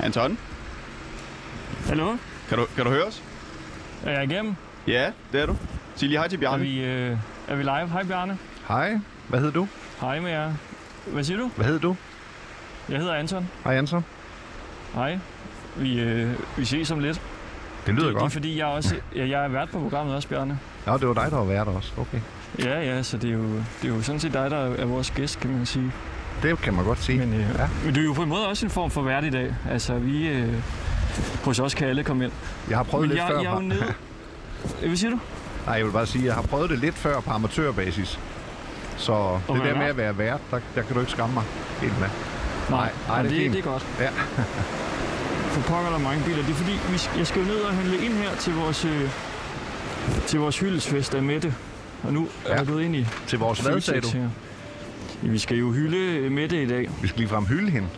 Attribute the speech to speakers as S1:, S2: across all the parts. S1: Anton,
S2: Hallo?
S1: kan du, kan du høre os?
S2: Er jeg igennem?
S1: Ja, det er du. Sig lige hej til
S2: Er
S1: Bjarne.
S2: vi, øh, er vi live? Hej Bjarne.
S3: Hej, hvad hedder du?
S2: Hej med jer. Hvad siger du?
S3: Hvad hedder du?
S2: Jeg hedder Anton.
S3: Hej Anton.
S2: Hej. Vi, øh, vi ses om lidt.
S3: Det lyder
S2: det er
S3: godt.
S2: fordi, jeg, er også, ja, jeg er vært på programmet også, Bjarne.
S3: Nå, det var dig, der var vært også. Okay.
S2: Ja, ja, så det er, jo, det er jo sådan set dig, der er vores gæst, kan man sige.
S3: Det kan man godt sige.
S2: Men, øh,
S3: Ja.
S2: ja. men du er jo på en måde også en form for vært i dag. Altså, vi... Øh, hos os kan alle komme ind.
S3: Jeg har prøvet
S2: Men
S3: lidt
S2: jeg,
S3: før.
S2: jeg er jo
S3: på-
S2: nede... Hvad siger du?
S3: Nej, jeg vil bare sige, jeg har prøvet det lidt før på amatørbasis. Så det
S2: være
S3: der med
S2: vært?
S3: at være vært, der, der kan du ikke skamme mig helt med. Nej, nej,
S2: men
S3: det er
S2: det,
S3: fint.
S2: det er godt.
S3: Ja.
S2: For pokker, der er mange biler. Det er fordi, vi, sk- jeg skal jo ned og handle ind her til vores, øh, til vores hyldesfest af Mette. Og nu ja. er
S3: Ja.
S2: jeg gået ind i
S3: Til vores hvad, sagde du?
S2: Føtex her. Ja, vi skal jo hylde øh, Mette i dag.
S3: Vi skal ligefrem hylde hende.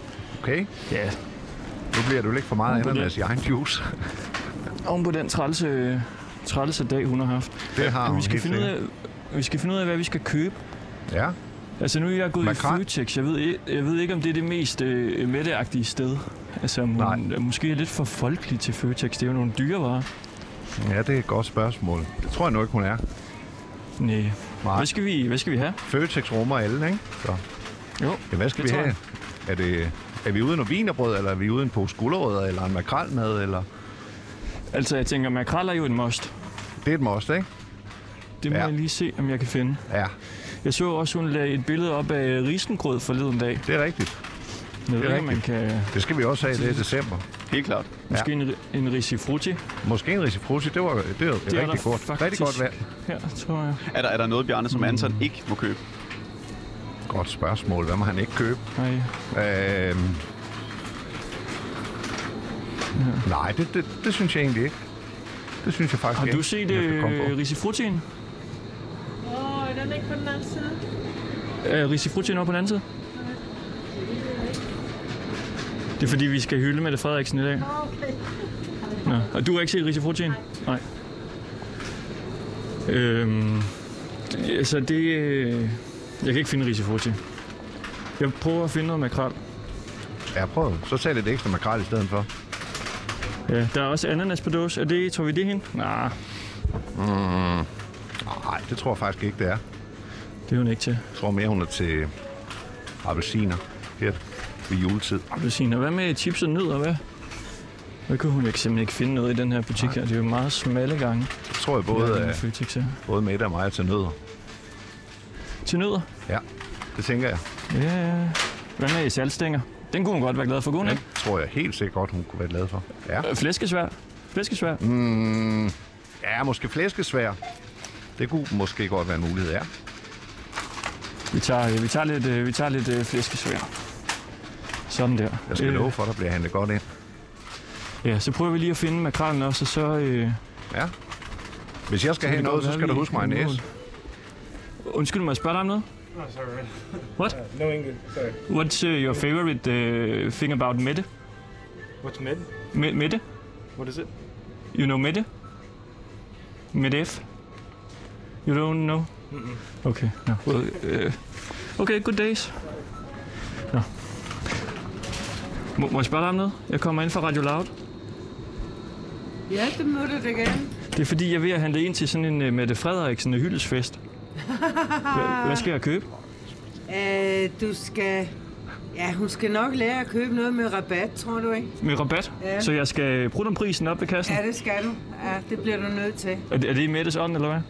S3: Okay?
S2: Ja.
S3: Nu bliver du ikke for meget
S2: Hun på
S3: ananas i egen juice.
S2: Oven på den trælse, øh, trælse dag, hun har haft.
S3: Det har
S2: Men
S3: hun
S2: vi skal,
S3: helt
S2: finde ud
S3: sikkert.
S2: af, vi skal finde ud af, hvad vi skal købe.
S3: Ja.
S2: Altså nu er jeg gået
S3: Makrel.
S2: i Føtex. Jeg ved, i- jeg ved ikke, om det er det mest øh, Mette-agtige sted. Altså, om hun
S3: Nej.
S2: er måske er lidt for folkelig til Føtex. Det er jo nogle dyre varer.
S3: ja, det er et godt spørgsmål. Det tror jeg nu ikke, hun er.
S2: Næh.
S3: Nej.
S2: Hvad skal vi, hvad skal vi have?
S3: Føtex rummer alle, ikke? Så.
S2: Jo,
S3: Ja, hvad skal
S2: Det
S3: vi
S2: tror
S3: have? Er, det, er vi ude noget vinerbrød, eller er vi ude en pose gulerødder, eller en makrelmad, eller...
S2: altså jeg tænker, makrel er jo en must.
S3: Det er et must, ikke?
S2: Det må ja.
S3: Ja.
S2: jeg lige se, om jeg kan finde.
S3: Ja,
S2: Jeg så også, hun lagde et billede op af risengrød forleden dag.
S3: det er rigtigt.
S2: Jeg ved
S3: Det er
S2: ikke, om man kan...
S3: Det skal vi også have i det i december.
S1: Helt klart.
S2: Måske en, ri- en risifrutti
S3: Måske en risifrusi, det var det er
S2: er
S3: rigtig
S2: der
S3: godt.
S2: faktisk.
S3: Rigtig godt valg.
S2: her, tror jeg.
S1: Er der, er der noget, Bjarne, som Anton ikke må købe?
S3: Godt spørgsmål. Hvad må han ikke købe?
S2: Nej.
S3: Øhm... Nej, det, det, det synes jeg egentlig ikke. Det synes jeg faktisk
S2: Har
S3: ikke.
S2: du set
S3: jeg kan komme på.
S2: øh, risifrutien?
S4: Åh, er den ikke på den anden side?
S2: Er Øh, risifrutien over på den anden side? Det er fordi, vi skal hylde Mette Frederiksen i dag.
S4: Okay.
S2: Nå. Og du har ikke set risifrutien? Nej. Nej. Øhm, det- altså det... øh, Jeg kan ikke finde risifrutti. Jeg prøver at finde noget makrel.
S3: Ja, prøv. Så tag lidt ekstra makrel i stedet for.
S2: Ja, der er også ananas på dåse. Er det, tror vi det er hende? Nej,
S3: Nej, det tror jeg faktisk ikke, det er.
S2: det er hun ikke til.
S3: Jeg tror mere, hun er til appelsiner her ved juletid.
S2: Appelsiner. Hvad med chips og nødder, hvad? Hvad kunne hun ikke simpelthen ikke finde noget i den her butik her? Det er jo meget smalle gange.
S3: Det tror jeg
S2: der er
S3: både,
S2: den her
S3: øh,
S2: Føtex her.
S3: både Mette og mig er til nødder.
S2: Til nødder?
S3: Ja, det tænker jeg.
S2: Ja. Hvad med saltstænger? Den kunne hun godt være glad for, kunne hun
S3: Den
S2: ikke?
S3: tror jeg helt sikkert godt, hun kunne være glad for. Ja, Mm,
S2: Øh, Flæskesvær. Flæskesvær.
S3: ja måske flæskesvær. Det kunne måske godt være en mulighed, ja.
S2: Vi tager, øh, vi tager lidt, øh, vi tager lidt øh, flæskesvær. Sådan der.
S3: Jeg skal
S2: Øh,
S3: love for, at der bliver handlet godt ind.
S2: Ja, så prøver vi lige at finde makrellen også, og så... Øh,
S3: Ja. Hvis jeg skal
S2: kan
S3: have
S2: det
S3: noget,
S2: godt
S3: så
S2: være,
S3: skal du
S2: vi
S3: huske mig en
S2: kommer i
S3: næse.
S2: undskyld, må jeg spørge dig om noget?
S5: Oh, sorry.
S2: What?
S5: No English. Sorry.
S2: What's uh, your favorite uh, thing about Mette?
S5: What's mid?
S2: Me- Mette?
S5: What is it?
S2: You know Mette? Mette F? You don't know? Okay, no. Well, uh, okay, good days. No. Må, må jeg spørge dig om noget? Jeg kommer ind fra Radio Loud.
S4: Ja, det må du da gerne.
S2: Det er fordi, jeg er ved at handle ind til sådan en uh, Mette Frederiksen hyldesfest.
S4: Ah.
S2: Hva, hvad skal jeg købe?
S4: Øh, du skal... Ja, hun skal nok lære at købe noget med rabat, tror du ikke?
S2: Med rabat?
S4: Ja.
S2: Så jeg skal bruge den prisen op ved kassen?
S4: Ja, det skal du. Ja, det bliver du nødt til.
S2: Er, det- er det i Mettes ånd, eller hvad?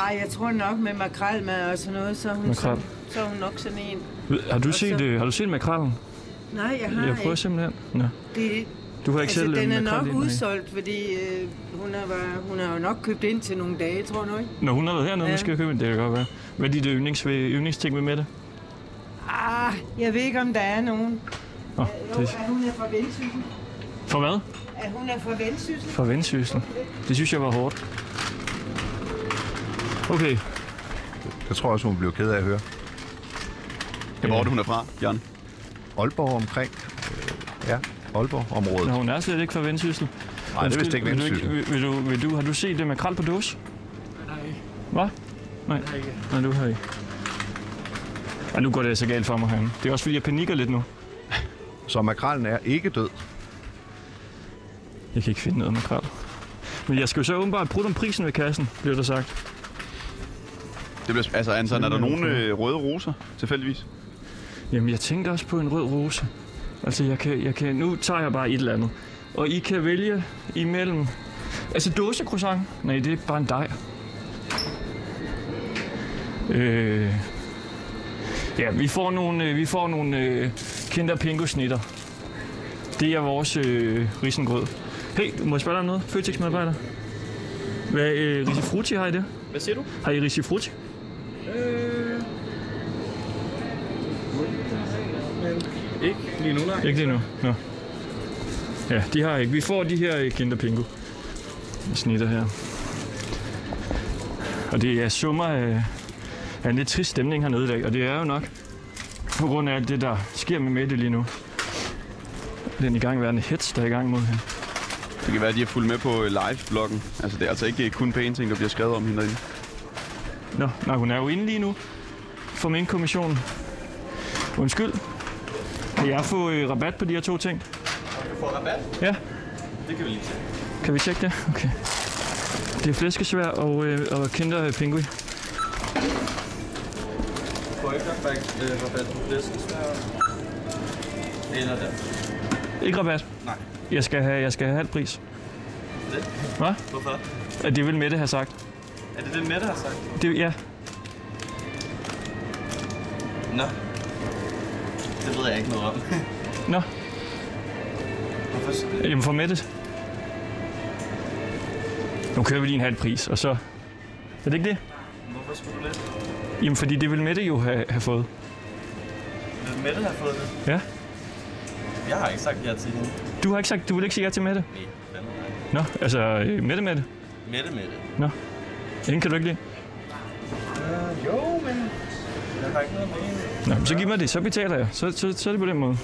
S4: Ej, jeg tror nok med makrelmad og sådan noget, så er hun,
S2: Makrel.
S4: så, så er hun nok sådan en.
S2: Ved- Har du set, uh, har du set makrallen?
S4: Nej, jeg har
S2: Jeg prøver
S4: ikke.
S2: simpelthen. Nå.
S4: Det,
S2: Du har ikke
S4: altså,
S2: selv øh,
S4: den er
S2: makrel
S4: nok
S2: ind, nej.
S4: udsolgt, fordi øh, hun, har, været- hun har jo nok købt ind til nogle dage, tror du ikke?
S2: Når hun har været hernede, ja.
S4: Ja.
S2: skal jeg købe en. Det kan godt være. Hvad er dit yndlings, øh, yndlingsting ved Mette?
S4: Ah, jeg ved ikke, om der er nogen.
S2: Nå,
S4: Jo,
S2: det,
S4: at hun er fra Vendsyssel.
S2: for hvad?
S4: At hun er fra Vendsyssel.
S2: For vendsyssel. Det synes jeg var hårdt. Okay,
S3: Det tror jeg også, hun bliver ked af at høre. Øh,
S1: Hvor er det, hun er fra, Bjarne?
S3: Aalborg omkring. øh, Ja, Aalborg-området.
S2: Nå, hun er slet ikke fra vendsyssel.
S3: Nej, det er vist ikke
S2: Vil,
S3: vendsyssel.
S2: vil, vil, du, vil du, har du set det makrel på dåse?
S5: Nej.
S2: Hvad? Nej. Nej, du har ikke. Ej, nu går det så galt for mig herinde. Det er også fordi, jeg panikker lidt nu.
S3: Så makrallen er ikke død.
S2: Jeg kan ikke finde noget makrel. Men jeg skal jo så åbenbart bruge om prisen ved kassen, bliver der sagt.
S1: Det bliver, altså, Anton, er der nogen øh, røde roser, tilfældigvis?
S2: Jamen, jeg tænkte også på en rød rose. Altså, jeg kan, jeg kan, nu tager jeg bare et eller andet. Og I kan vælge imellem... Altså, dåsecroissant? Nej, det er bare en dej. Øh... Ja, vi får nogle, øh, vi får nogle øh, kinder pingo snitter. Det er vores øh, risengrød. Hey, må jeg spørge dig om noget? Føtex medarbejder. Hvad øh, risifrutti har I det?
S5: Hvad siger du?
S2: Har I risifrutti?
S5: Øh, Ikke lige nu, nej.
S2: Ikke lige nu? Nå. Ja, de har ikke. Vi får de her øh, Kinder Pingo snitter her. Og det er summer af, af en lidt trist stemning hernede i dag, og det er jo nok på grund af alt det, der sker med Mette lige nu. Den igangværende hets, der er i gang mod hende.
S1: Det kan være, at de har fulgt med på øh, live-bloggen. Altså, det er altså ikke kun pæne ting, der bliver skrevet om hende derinde.
S2: Nå, nej, hun er jo inde lige nu for min kommission. Undskyld. Kan jeg få øh, rabat på de her to ting? Kan du få rabat? Ja. Det kan vi lige tjekke. Kan vi tjekke det? Okay. Det er flæskesvær og, øh, og kinder pingui. øh, Får ikke rabat, øh, rabat på flæskesvær? Eller den? Ikke rabat? Nej. Jeg skal have, jeg skal have halv pris. Det? Hvad? Hvorfor? Det vil Mette have sagt. Det, ja,
S6: Nå. Det ved jeg ikke noget om.
S2: nå.
S6: Hvorfor?
S2: Jamen for Mette. Nu kører vi lige en halv pris, og så... Er det ikke det?
S6: Hvorfor skulle du det?
S2: Jamen fordi det ville Mette jo have, have fået.
S6: Vil Mette have fået det?
S2: Ja.
S6: Jeg har ikke sagt ja til hende.
S2: Du har ikke sagt, du vil ikke sige ja til Mette?
S6: Nej, fandme nej.
S2: Nå, altså øh, Mette Mette.
S6: Mette, Mette.
S2: Hende kan du ikke lide. Øh,
S6: Jo, men... Jeg har ikke noget med hende.
S2: Nå, men så giv mig det, så betaler jeg. Så, så, så er det på den måde.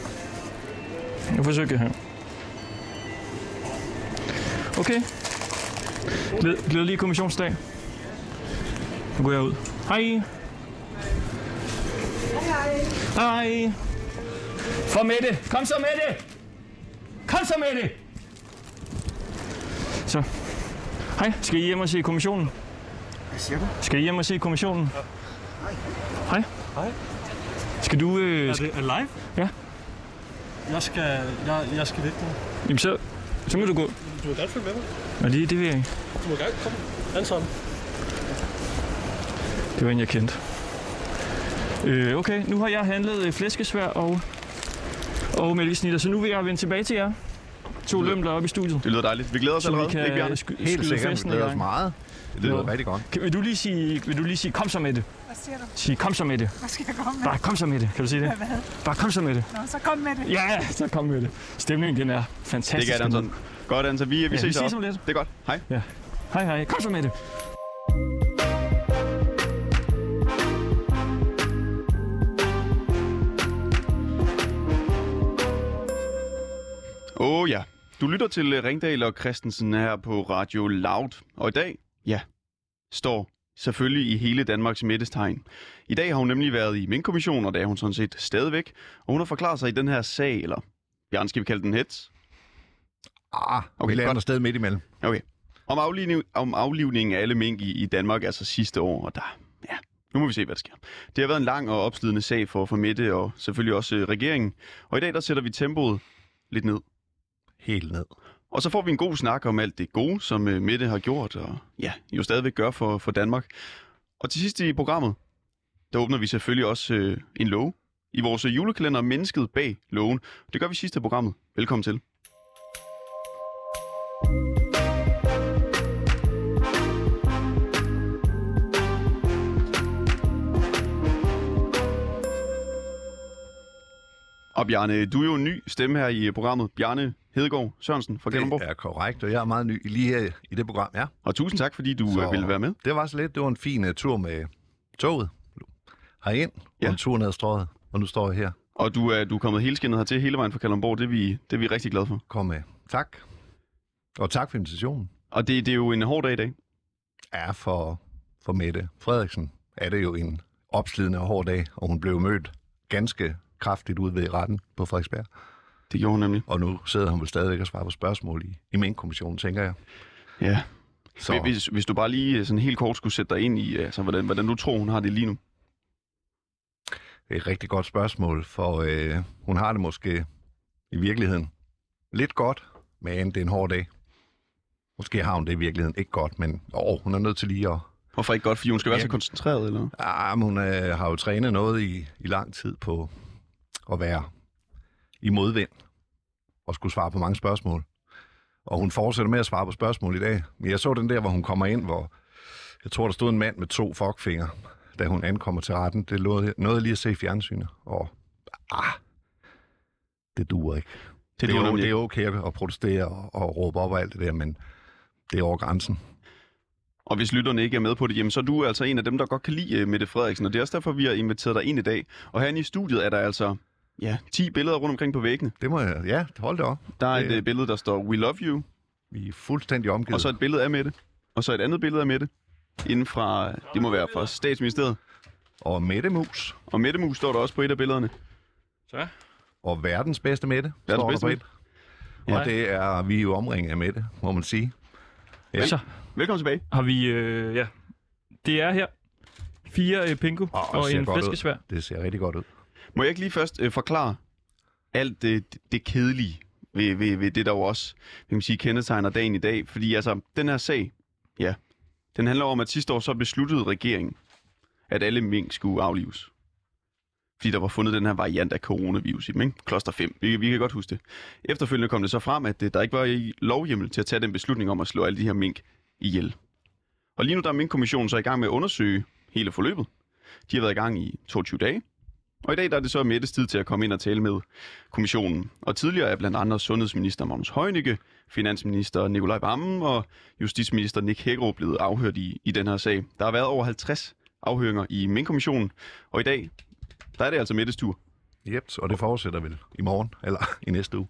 S2: Jeg forsøger her. Okay. Glæd, glædelig kommissionsdag. Nu går jeg ud. Hej. Hej. Hej. For Mette. Kom så, Mette. Kom så, Mette. Så. Hej. Skal I hjem og se kommissionen? Hvad siger du? Skal I hjem og se kommissionen? Hej. Skal du... Øh,
S5: Er det alive?
S2: Ja.
S5: Jeg skal, jeg, jeg skal væk nu.
S2: Jamen så, så må du gå.
S5: Du må gerne følge med mig.
S2: Og det, det ved jeg ikke.
S5: Du må gerne komme. Anton.
S2: Det var en, jeg kendte. Øh, okay, nu har jeg handlet øh, flæskesvær og, og mælkesnitter, så nu vil jeg vende tilbage til jer. To lømler op i studiet.
S1: Det lyder dejligt. Vi glæder os
S2: Så vi
S1: allerede,
S2: kan
S1: ikke, Bjarne?
S2: sky-
S3: Helt
S2: skyde
S3: sikkert. Vi
S2: festen i
S3: glæder os
S2: gang.
S3: meget. Det lyder
S2: Jo.
S3: rigtig godt.
S2: Kan, vil, du lige sige, vil du lige sige, kom så med det?
S7: Hvad siger du?
S2: Sige, kom så med det.
S7: Hvad skal jeg komme med?
S2: Bare kom så med det. Kan du sige det?
S7: Hvad?
S2: Bare kom så med det.
S7: Nå, så kom med det.
S2: Ja, så kom med det. Stemningen, den er fantastisk.
S1: Det kan Anton. Godt, Anton. Vi, vi
S2: vi
S1: ses
S2: ses
S1: deroppe.
S2: om lidt.
S1: Det er godt. Hej.
S2: Hej, hej. Kom så med det.
S1: Åh oh, ja. Du lytter til øh, Ringdal og Christensen her på Radio Loud. Og i dag, ja, står selvfølgelig i hele Danmarks midtestegn. I dag har hun nemlig været i Mink-kommission, og det er hun sådan set stadigvæk. Og hun har forklaret sig i den her sag, eller Bjørn, skal vi kalde den hets?
S3: Ah,
S1: Okay,
S3: okay, vi laver
S1: godt.
S3: noget sted midt imellem.
S1: Okay. Om, aflivning, om aflivningen af alle mink i, i Danmark, altså sidste år, og der, ja, nu må vi se, hvad der sker. Det har været en lang og opslidende sag for, for Mette og selvfølgelig også øh, regeringen. Og i dag, der sætter vi tempoet lidt ned.
S3: Helt ned.
S1: Og så får vi en god snak om alt det gode, som øh, Mette har gjort, og ja, jo stadigvæk gør for, for Danmark. Og til sidst i programmet, der åbner vi selvfølgelig også øh, en lov i vores julekalender Mennesket bag loven. Det gør vi sidst i programmet. Velkommen til. Og Bjarne, du er jo en ny stemme her i programmet. Bjarne Hedegaard Sørensen fra Gellemborg.
S3: Det er korrekt, og jeg er meget ny lige her i det program, ja.
S1: Og tusind tak, fordi du så... ville være med.
S3: Det var så lidt. Det var en fin uh, tur med toget herind,
S1: Ja.
S3: ja. og en tur ned ad strøget, og nu står jeg her.
S1: Og du er, du er kommet helskindet hertil hele vejen fra Kalundborg. Det er vi, det er vi rigtig glade for.
S3: Kom med. Tak. Og tak for invitationen.
S1: Og det, det er jo en hård dag i dag.
S3: er for, for Mette Frederiksen, er det jo en opslidende og hård dag, og hun blev mødt ganske kraftigt ud ved retten på Frederiksberg.
S1: Det gjorde hun nemlig.
S3: Og nu sidder hun vel stadigvæk og svarer på spørgsmål i, i minkkommissionen, tænker jeg.
S1: Ja.
S3: Så
S1: Hvis, hvis du bare lige øh, sådan helt kort skulle sætte dig ind i, altså, hvordan, hvordan du tror, hun har det lige nu.
S3: det er et rigtig godt spørgsmål, for øh, hun har det måske i virkeligheden lidt godt, men det er en hård dag. Måske har hun det i virkeligheden ikke godt, men åh, hun er nødt til lige at...
S1: Hvorfor ikke godt? Fordi hun skal være
S3: Ja.
S1: så koncentreret, eller?
S3: Ah, men hun øh, har jo trænet noget i, i lang tid på at være i modvind og skulle svare på mange spørgsmål. Og hun fortsætter med at svare på spørgsmål i dag. Men jeg så den der, hvor hun kommer ind, hvor jeg tror, der stod en mand med to fuckfinger, da hun ankommer til retten. Det lå noget lige at se i fjernsynet. Og ah, det duer ikke. Det, det,
S1: duer
S3: er, jo-
S1: nemlig
S3: det er
S1: ikke.
S3: okay at protestere og, og råbe op og alt det der, men det er over grænsen.
S1: Og hvis lytterne ikke er med på det, jamen, så er du altså en af dem, der godt kan lide øh, Mette Frederiksen, og det er også derfor, vi har inviteret dig ind i dag. Og herinde i studiet er der altså ja, 10 billeder rundt omkring på væggene.
S3: Det må jeg... Ja, hold det op.
S1: Der er
S3: Det-
S1: et øh, billede, der står We Love You,
S3: Vi er fuldstændig omgivet.
S1: og så et billede af Mette, og så et andet billede af Mette, inden fra, øh, det må være fra statsministeriet.
S3: og Mette Mus,
S1: Og Mette Mus står der også på et af billederne.
S5: Så.
S3: og verdens bedste Mette,
S1: Verdens
S3: står der
S1: bedste
S3: på
S1: Mette.
S3: et. Og det er, vi er jo omringet af Mette, må man sige. Ja.
S2: Så
S1: Velkommen tilbage.
S2: har vi, øh, ja, det er her. Fire øh, pingo
S3: Åh,
S2: oh,
S3: det
S2: og
S3: ser
S2: en
S3: godt ud.
S2: flæskesvær.
S3: Det ser rigtig godt ud.
S1: Må jeg ikke lige først øh, forklare alt det, det kedelige ved, ved, ved det, der jo også vil man sige, kendetegner dagen i dag? Fordi altså, den her sag, ja, den handler om, at sidste år så besluttede regeringen, at alle mink skulle aflives. Fordi der var fundet den her variant af coronavirus i dem, ikke? Kloster 5. Vi, vi kan godt huske det. Efterfølgende kom det så frem, at øh, der ikke var i lovhjemmel til at tage den beslutning om at slå alle de her mink ihjel. Og lige nu der er minkkommissionen så i gang med at undersøge hele forløbet. De har været i gang i 22 dage. Og i dag der er det så Mettes tid til at komme ind og tale med kommissionen. Og tidligere er blandt andre sundhedsminister Magnus Heunicke, finansminister Nikolaj Vammen og justitsminister Nick Hækkerup blevet afhørt i, i den her sag. Der har været over 50 afhøringer i Mink-kommissionen, og i dag der er det altså Mettes tur.
S3: Jep, og det fortsætter vel i morgen, eller i næste uge.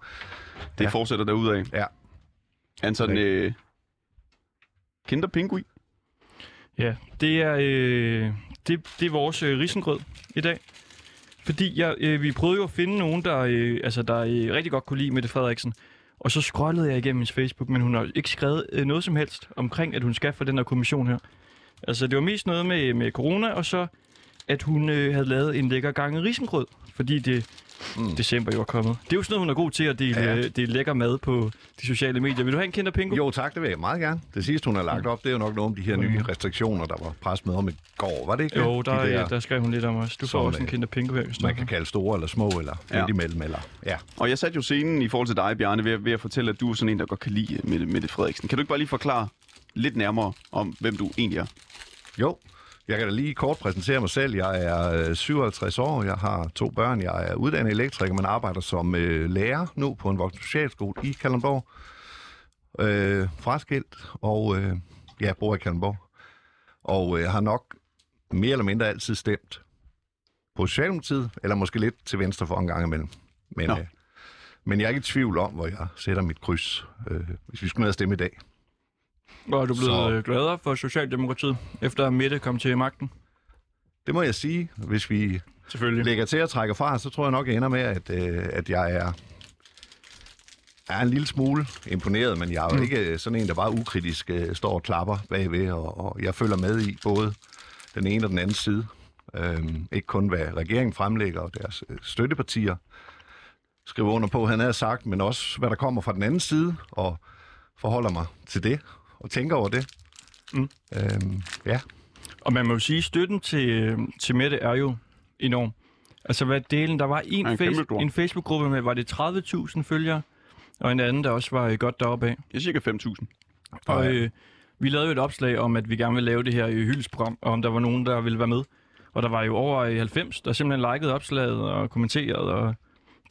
S1: Det
S3: Ja.
S1: ja. fortsætter derudad.
S3: Ja.
S1: Anton,
S3: Okay.
S1: øh, Kinder Pingui.
S2: Ja, det er, øh, det, det er vores øh, risengrød i dag. Fordi jeg, øh, vi prøvede jo at finde nogen, der, øh, altså, der øh, rigtig godt kunne lide Mette Frederiksen. Og så scrollede jeg igennem hendes Facebook, men hun har ikke skrevet øh, noget som helst omkring, at hun skal for den her kommission her. Altså, det var mest noget med, med corona, og så at hun øh, havde lavet en lækker gange risengrød, fordi det mm. december jo er kommet. Det er jo sådan noget, hun er god til at dele,
S3: Ja.
S2: ja. øh, dele lækker mad på de sociale medier. Vil du have en kinder pingo?
S3: Jo tak, det vil jeg meget gerne. Det sidste, hun har lagt op, det er jo nok noget om de her nye restriktioner, der var presmøde om i går, var det ikke?
S2: jo
S3: det?
S2: der,
S3: de
S2: der,
S3: der,
S2: øh, der skrev hun lidt om os. Du får
S3: Som,
S2: også en
S3: øh,
S2: kinder pingo her, hvis du
S3: man kan kalde store eller små, eller
S1: Ja.
S3: ja. midt imellem, eller... Ja,
S1: Og jeg satte jo scenen i forhold til dig, Bjarne, ved, at- ved at fortælle, at du er sådan en, der godt kan lide øh, Mette, Mette Frederiksen. Kan du ikke bare lige forklare lidt nærmere om, hvem du egentlig er?
S3: Jo, jeg kan da lige kort præsentere mig selv. Jeg er øh, 57 år, jeg har to børn, jeg er uddannet elektriker, men arbejder som øh, lærer nu på en voksen socialskole i Kalundborg. Øh, fraskilt, og øh, jeg bor i Kalundborg. Og øh, har nok mere eller mindre altid stemt på Socialdemokratiet, eller måske lidt til venstre for en gang imellem. Men,
S1: Nå.
S3: øh, men jeg er ikke i tvivl om, hvor jeg sætter mit kryds, øh, hvis vi skulle ned og stemme i dag.
S2: Og er du
S3: Så-
S2: blevet så... gladere for Socialdemokratiet, efter at Mette kom til magten?
S3: Det må jeg sige, hvis vi
S2: Selvfølgelig.
S3: lægger til at trække fra, så tror jeg nok, jeg ender med, at, øh, at jeg er, er en lille smule imponeret, men jeg er jo mm. ikke sådan en, der bare ukritisk øh, står og klapper bagved, og, og jeg følger med i både den ene og den anden side. Øhm, ikke kun hvad regeringen fremlægger og deres øh, støttepartier skriver under på, han har sagt, men også hvad der kommer fra den anden side, og forholder mig til det, og tænker over det. Mm. Øhm, ja.
S2: Og man må jo sige, at støtten til, øh, til Mette er jo enorm. Altså hvad delen, der var en,
S1: En kæmpe stor.
S2: face- en Facebook-gruppe med, var det 30.000 følgere, og en anden, der også var øh, godt deroppe af.
S1: Det er cirka 5.000.
S2: Og øh, vi lavede jo et opslag om, at vi gerne ville lave det her øh, hyldesprogram, og om der var nogen, der ville være med. Og der var jo over øh, 90, der simpelthen likede opslaget og kommenterede, og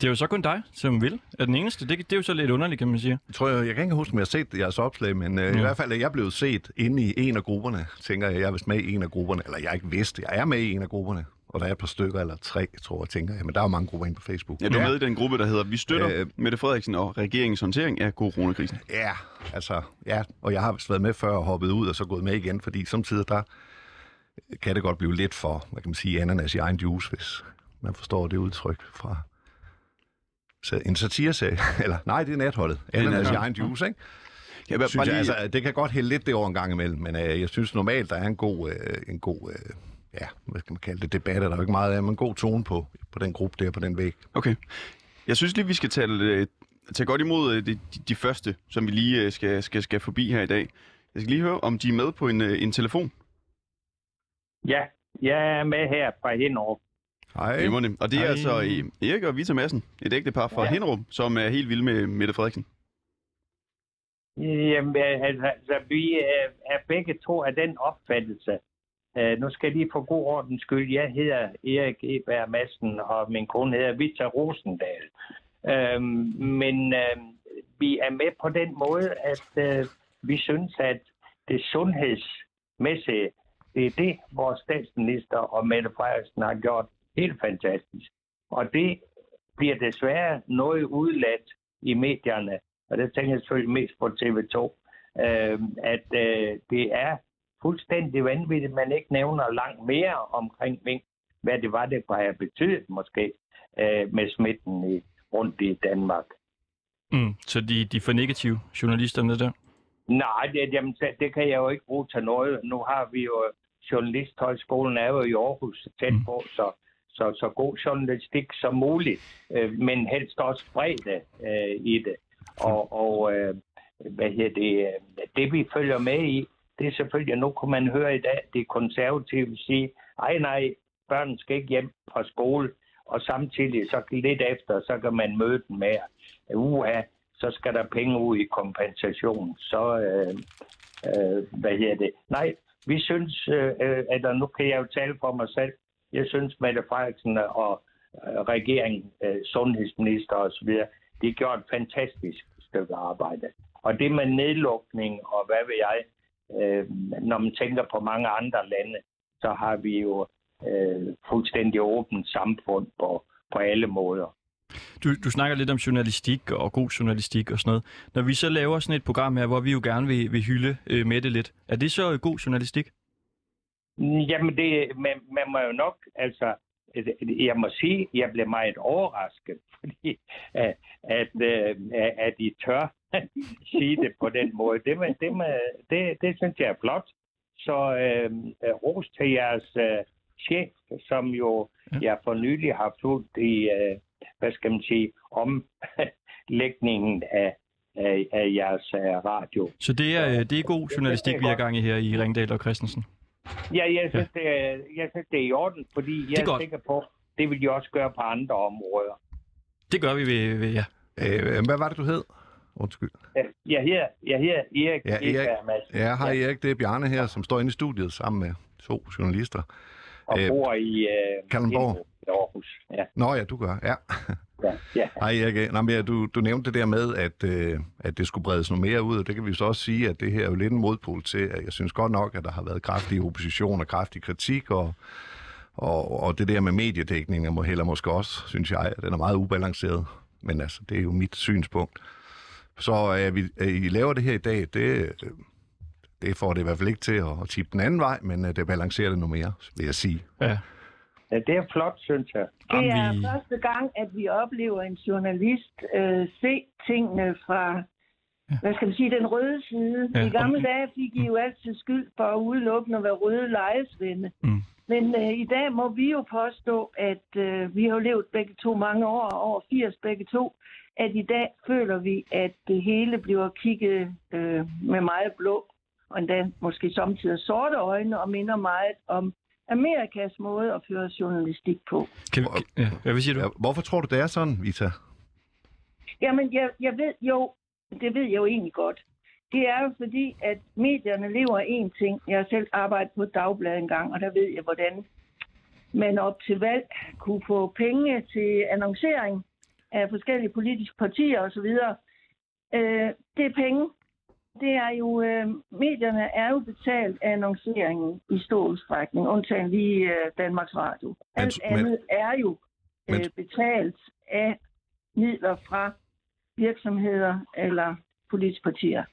S2: det er jo så kun dig, som vil. Er den eneste. Det, det er jo så lidt underligt, kan man sige.
S3: Jeg tror, jeg, jeg kan ikke huske, om jeg har set jeres opslag, men øh, mm. i hvert fald er jeg blevet set inde i en af grupperne. Tænker jeg, jeg er vist med i en af grupperne, eller jeg er ikke vidst, jeg er med i en af grupperne. Og der er et par stykker eller tre, tror jeg, tænker jeg. Men der er jo mange grupper inde på Facebook.
S1: Ja, du er med i den gruppe, der hedder Vi støtter
S3: Øh.
S1: øh... Mette Frederiksen og regeringens håndtering af coronakrisen.
S3: Ja, altså, ja. Og jeg har vist været med før og hoppet ud og så gået med igen, fordi samtidig der kan det godt blive lidt for, hvad kan man sige, ananas i egen juice, hvis man forstår det udtryk fra så en satiresag. Eller nej, det er natholdet. Ananas
S2: altså-
S3: i egen juice, ikke?
S1: Ja, bare,
S3: Synes jeg, altså, det kan godt hælde lidt det over en gang imellem, men øh, jeg synes normalt, der er en god, øh, en god øh, ja, hvad skal man kalde det, debat, er der jo ikke meget af, men en god tone på, på den gruppe der, på den væg.
S1: Okay. Jeg synes lige, vi skal tale, øh, tage godt imod øh, de, de, de første, som vi lige øh, skal, skal, skal forbi her i dag. Jeg skal lige høre, om de er med på en, øh, en telefon.
S7: Ja, jeg er med her fra Hinderup.
S3: Hej.
S1: Glimrende. Og det er altså øh, Erik og Vita Madsen, et ægtepar fra ja. Hinderup, som er helt vild med Mette Frederiksen.
S7: Jamen, øh, altså, altså, vi øh, er begge to af den opfattelse. Øh, Nu skal jeg lige for god ordens skyld. Jeg hedder Erik Eberg Madsen, og min kone hedder Vita Rosendal. Øhm, Men øh, vi er med på den måde, at øh, vi synes, at det sundhedsmæssige, det er det, vores statsminister og Mette Frederiksen har gjort helt fantastisk. Og det bliver desværre noget udladt i medierne, og der tænker jeg selvfølgelig mest på TV2, øh, at øh, det er fuldstændig vanvittigt, at man ikke nævner langt mere omkring mink, hvad det var, det kunne have betydet måske øh, med smitten i, rundt i Danmark.
S2: Mm, så de, de er for negative journalisterne der?
S7: Nej, det, jamen, så- det kan jeg jo ikke bruge til noget. Nu har vi jo Journalisthøjskolen er jo i Aarhus tæt på, så, så, så god journalistik som muligt, øh, men helst også bredde øh, i det. Og, og øh, hvad hedder det, øh, det vi følger med i, det er selvfølgelig, at nu kunne man høre i dag, det konservative sige, ej nej, børn skal ikke hjem fra skole, og samtidig så lidt efter, så kan man møde dem med, uha, så skal der penge ud i kompensation. Så, øh, øh, hvad hedder det? Nej, vi synes, øh, øh, at og nu kan jeg jo tale for mig selv, jeg synes, Mette Frederiksen og øh, regeringen, øh, sundhedsminister osv., de gjorde et fantastisk stykke arbejde. Og det med nedlukning og hvad ved jeg, øh, når man tænker på mange andre lande, så har vi jo øh, fuldstændig åbent samfund på, på alle måder.
S2: Du, du snakker lidt om journalistik og god journalistik og sådan noget. Når vi så laver sådan et program her, hvor vi jo gerne vil, vil hylde øh, Mette lidt, er det så øh, god journalistik?
S7: Jamen, det, man, man må jo nok, altså, jeg må sige, jeg blev meget overrasket, fordi at, at, øh, at I tør sige det på den måde. Det, med, det, med, det, det synes jeg er flot. Så øh, ros til jeres øh, chef, som jo jeg for nylig har fulgt i, øh, hvad skal man sige, omlægningen af, af, af jeres øh, radio.
S2: Så det er, øh, det er god journalistik, vi har
S7: godt.
S2: gang i her i Ringdal og Christensen.
S7: Ja, jeg synes, det er, jeg synes, det er i orden, fordi jeg
S2: er
S7: er, er
S2: godt.
S7: sikker på, det vil de også gøre på andre områder.
S2: Det gør vi ved, ved ja.
S3: Øh, hvad var det, du hed? Undskyld.
S7: Jeg- Jeg her, jeg her, Erik,
S3: Ja,
S7: ja,
S3: Erik.
S7: Erik. Madsen,
S3: Ja, hej Erik, det er Bjarne her, som står inde i studiet sammen med to journalister.
S7: og
S3: Øh,
S7: bor i øh,
S3: Kalundborg.
S7: Hindrup i Aarhus. Ja,
S3: Nå ja, du gør, ja.
S7: ja, ja.
S3: Hej Erik, Nå, men ja, du, du nævnte det der med, at, øh, at det skulle bredes noget mere ud, og det kan vi så også sige, at det her er jo lidt en modpol til, at jeg synes godt nok, at der har været kraftig opposition og kraftig kritik, og, og, og det der med mediedækning, og må heller måske også, synes jeg, at den er meget ubalanceret. Men altså, det er jo mit synspunkt. Så at vi, at I laver det her i dag, det, øh, det får det i hvert fald ikke til at, at tippe den anden vej, men øh, det balancerer det noget mere, vil jeg sige.
S2: ja.
S7: Ja, Det er flot, synes jeg.
S2: Om
S8: Det er
S2: vi-
S8: første gang, at vi oplever en journalist øh, se tingene fra, hvad skal man sige, den røde side.
S2: Ja, Mm.
S8: I gamle
S2: om-
S8: dage fik I jo altid skyld for at udelukkende at være røde lejesvende.
S2: Mm.
S8: Men øh, i dag må vi jo påstå, at øh, vi har jo levet begge to mange år, over 80 begge to, at i dag føler vi, at det hele bliver kigget øh, med meget blå og endda måske samtidig sorte øjne og minder meget om Amerikas måde at føre journalistik på.
S2: Kan, vi- kan, ja. ja, hvad siger du?
S3: Ja, hvorfor tror du, det er sådan, Vita?
S8: Jamen, jeg, jeg ved jo, det ved jeg jo egentlig godt. Det er jo fordi, at medierne lever af én ting. Jeg har selv arbejdet på et dagblad engang, og der ved jeg, hvordan man op til valg kunne få penge til annoncering af forskellige politiske partier osv. Øh, det er penge. Det er jo, øh, medierne er jo betalt af annonceringen i stor udstrækning, undtagen lige øh, Danmarks Radio. Alt
S3: men-
S8: andet er jo øh,
S3: men-
S8: betalt af midler fra virksomheder eller politiske partier.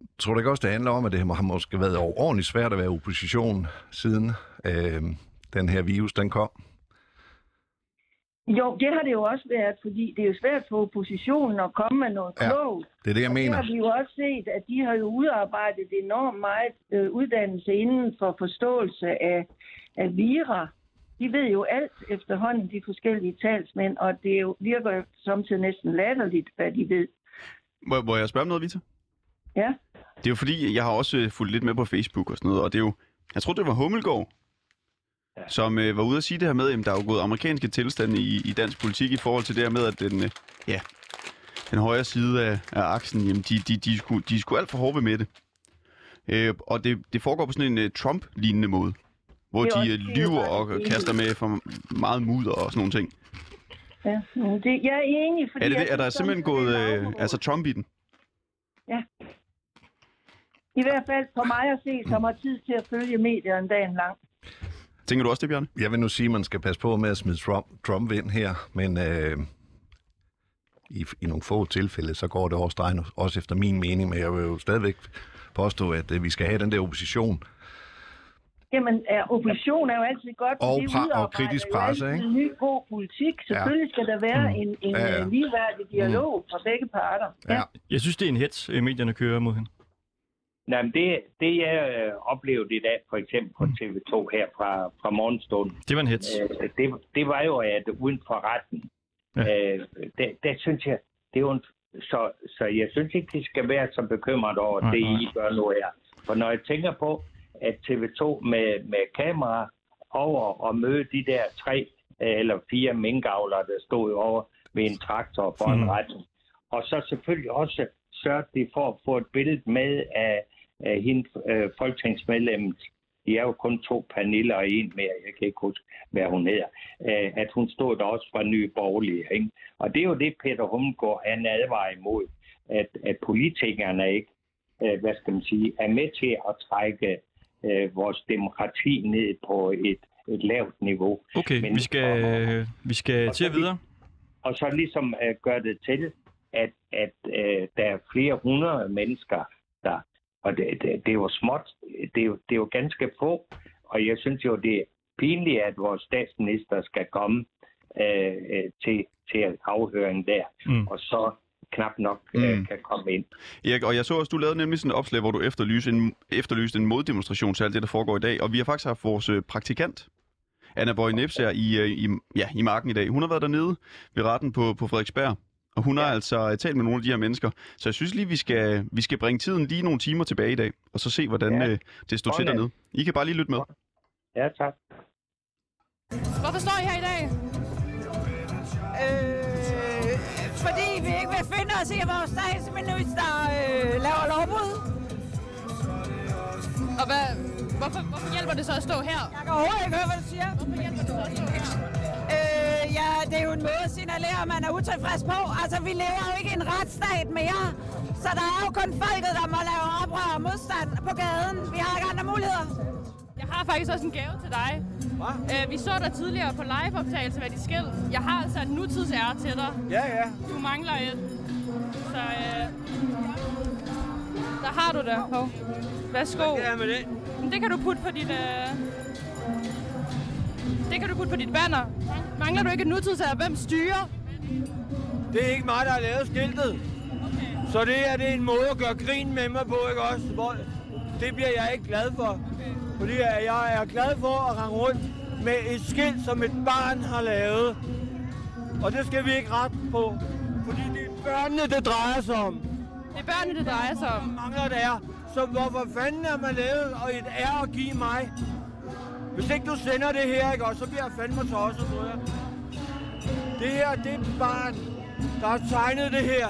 S3: Jeg tror du ikke også, det handler om, at det har måske været overordentligt svært at være i øhm, opposition, siden øh, den her virus den kom?
S8: Jo, det har det jo også været, fordi det er jo svært for oppositionen at komme med noget
S3: Ja,
S8: klogt.
S3: Det er det, jeg
S8: Det
S3: mener.
S8: har vi jo også set, at de har jo udarbejdet enormt meget øh, uddannelse inden for forståelse af, af vira. De ved jo alt efterhånden, de forskellige talsmænd, og det er jo, virker jo samtidig næsten latterligt, hvad de ved.
S1: Må, må jeg spørge om noget, Vita?
S8: Ja,
S1: Det er jo fordi, jeg har også øh, fulgt lidt med på Facebook og sådan noget, og det er jo, jeg tror det var Hummelgaard, ja. som øh, var ude at sige det her med, at der er jo gået amerikanske tilstande i, i dansk politik i forhold til det her med, at den, øh, ja, den højre side af, af aksen, jamen de, de, de, skulle, de skulle alt for hårde ved med det. Øh, og det, det foregår på sådan en øh, Trump-lignende måde, hvor
S8: Det er
S1: de
S8: også-
S1: øh,
S8: det er
S1: lyver
S8: faktisk
S1: og
S8: enig i.
S1: kaster med for meget mudder og sådan nogle ting.
S8: ja. Men Det, jeg er enig, fordi...
S1: Er, det,
S8: jeg
S1: det, er der
S8: synes
S1: simpelthen
S8: sådan,
S1: gået
S8: det er
S1: øh,
S8: lavmål.
S1: altså Trump i den?
S8: I hvert fald for mig at se, som har tid til at følge medierne dagen lang.
S1: Tænker du også det, Bjørn?
S3: Jeg vil nu sige, at man skal passe på med at smide Trump, Trump ind her, men øh, i, i nogle få tilfælde, så går det over stregen, også efter min mening, men jeg vil jo stadigvæk påstå, at øh, vi skal have den der opposition.
S8: Jamen, er opposition er jo altid godt,
S3: Og
S8: fordi
S3: pra- og
S8: udarbejder
S3: kritisk
S8: jo
S3: presse,
S8: altid
S3: ikke? Mm.
S8: en ny god politik. Selvfølgelig skal der være en, en
S3: Ja, ja.
S8: ja. ligeværdig dialog fra begge parter.
S3: Ja.
S2: Jeg synes, det er en hets, øh, medierne kører mod hende.
S7: Nej, men det, det jeg øh, oplevede i dag, for eksempel på TV2 her fra, fra morgenstunden,
S2: Mm. Det var en hets.
S7: øh, det, det var jo, at uden for retten,
S2: Ja.
S7: øh, der, der synes jeg, det er jo en, så, så jeg synes ikke, de skal være så bekymret over
S2: Nej,
S7: det,
S2: nej.
S7: I gør nu her. For når jeg tænker på, at TV2 med, med kamera over og møde de der tre øh, eller fire minkavlere, der stod over ved en traktor foran
S2: Mhm.
S7: mm. retten, og så selvfølgelig også sørge de for at få et billede med af, af hende, øh, folketingsmedlemmet. De er jo kun to Pernille og en mere, jeg kan ikke huske, hvad hun hedder. Øh, at hun stod der også fra Nye Borgerlige. Ikke? Og det er jo det, Peter Hummelgaard, han advarer imod, at, at politikerne ikke, øh, hvad skal man sige, er med til at trække øh, vores demokrati ned på et, et lavt niveau.
S2: Okay,
S7: Men-
S2: vi skal, øh, vi skal
S7: Og
S2: til
S7: så
S2: at videre.
S7: og så ligesom øh, gøre det til, at, at øh, der er flere hundrede mennesker der. Og det, det, det er jo småt, det er jo, det er jo ganske få, og jeg synes jo, det er pinligt, at vores statsminister skal komme øh, øh, til, til afhøringen der,
S2: Mm.
S7: mm. og så knap nok øh,
S1: Mm.
S7: kan komme ind.
S1: Erik, og jeg så også, du lavede nemlig sådan et opslag, hvor du efterlyste en, efterlyste en moddemonstration til alt det, der foregår i dag. Og vi har faktisk haft vores øh, praktikant, Anna Bøje Nipser, i, øh, i, ja, i marken i dag. Hun har været dernede ved retten på, på Frederiksberg, og hun har altså øh, talt med nogle af de her mennesker. Så jeg synes lige, vi skal, vi skal bringe tiden lige nogle timer tilbage i dag, og så se, hvordan
S7: Ja.
S1: ja. øh, det står til
S7: Sådan.
S1: dernede. I kan bare lige lytte med.
S7: Ja, tak.
S9: Hvorfor står I her i dag? Øh, fordi vi ikke vil finde os i, at vores statsminister øh, laver lovbrud. Og hvad, hvorfor, hvorfor hjælper det så at stå her? Jeg kan overhovedet ikke høre, hvad du siger. Hvorfor hjælper det så at stå her? Øh, ja, det er jo en måde at signalere, at man er utilfreds på. Altså, vi lever jo ikke i en retsstat mere. Så der er jo kun folket, der må lave oprør og modstand på gaden. Vi har ikke andre muligheder. Jeg har faktisk også en gave til dig. Øh, vi så dig tidligere på liveoptagelse med dit skæld. Jeg har altså en nutidsære til dig.
S6: Ja, ja.
S9: Du mangler et. Så øh, der har du det. Hov. Værsgo.
S6: Ja, med det.
S9: Men det kan du putte på dit... Øh... Det kan du putte på dit banner. Mangler du ikke et nutidsære? Hvem styrer?
S6: Det er ikke mig, der har lavet skiltet. Okay. Så det her, det er en måde at gøre grin med mig på, ikke også? Hvor, det bliver jeg ikke glad for. Okay. Fordi jeg jeg er glad for at rende rundt med et skilt, som et barn har lavet. Og det skal vi ikke rette på. Fordi det er børnene, det drejer sig om.
S9: Det er børnene, det drejer sig om.
S6: Der mangler der, så hvorfor fanden er man lavet og et er at give mig? Hvis ikke du sender det her, ikke, og så bliver jeg fandme tosset på jer. Det her, det er et barn, der har tegnet det her.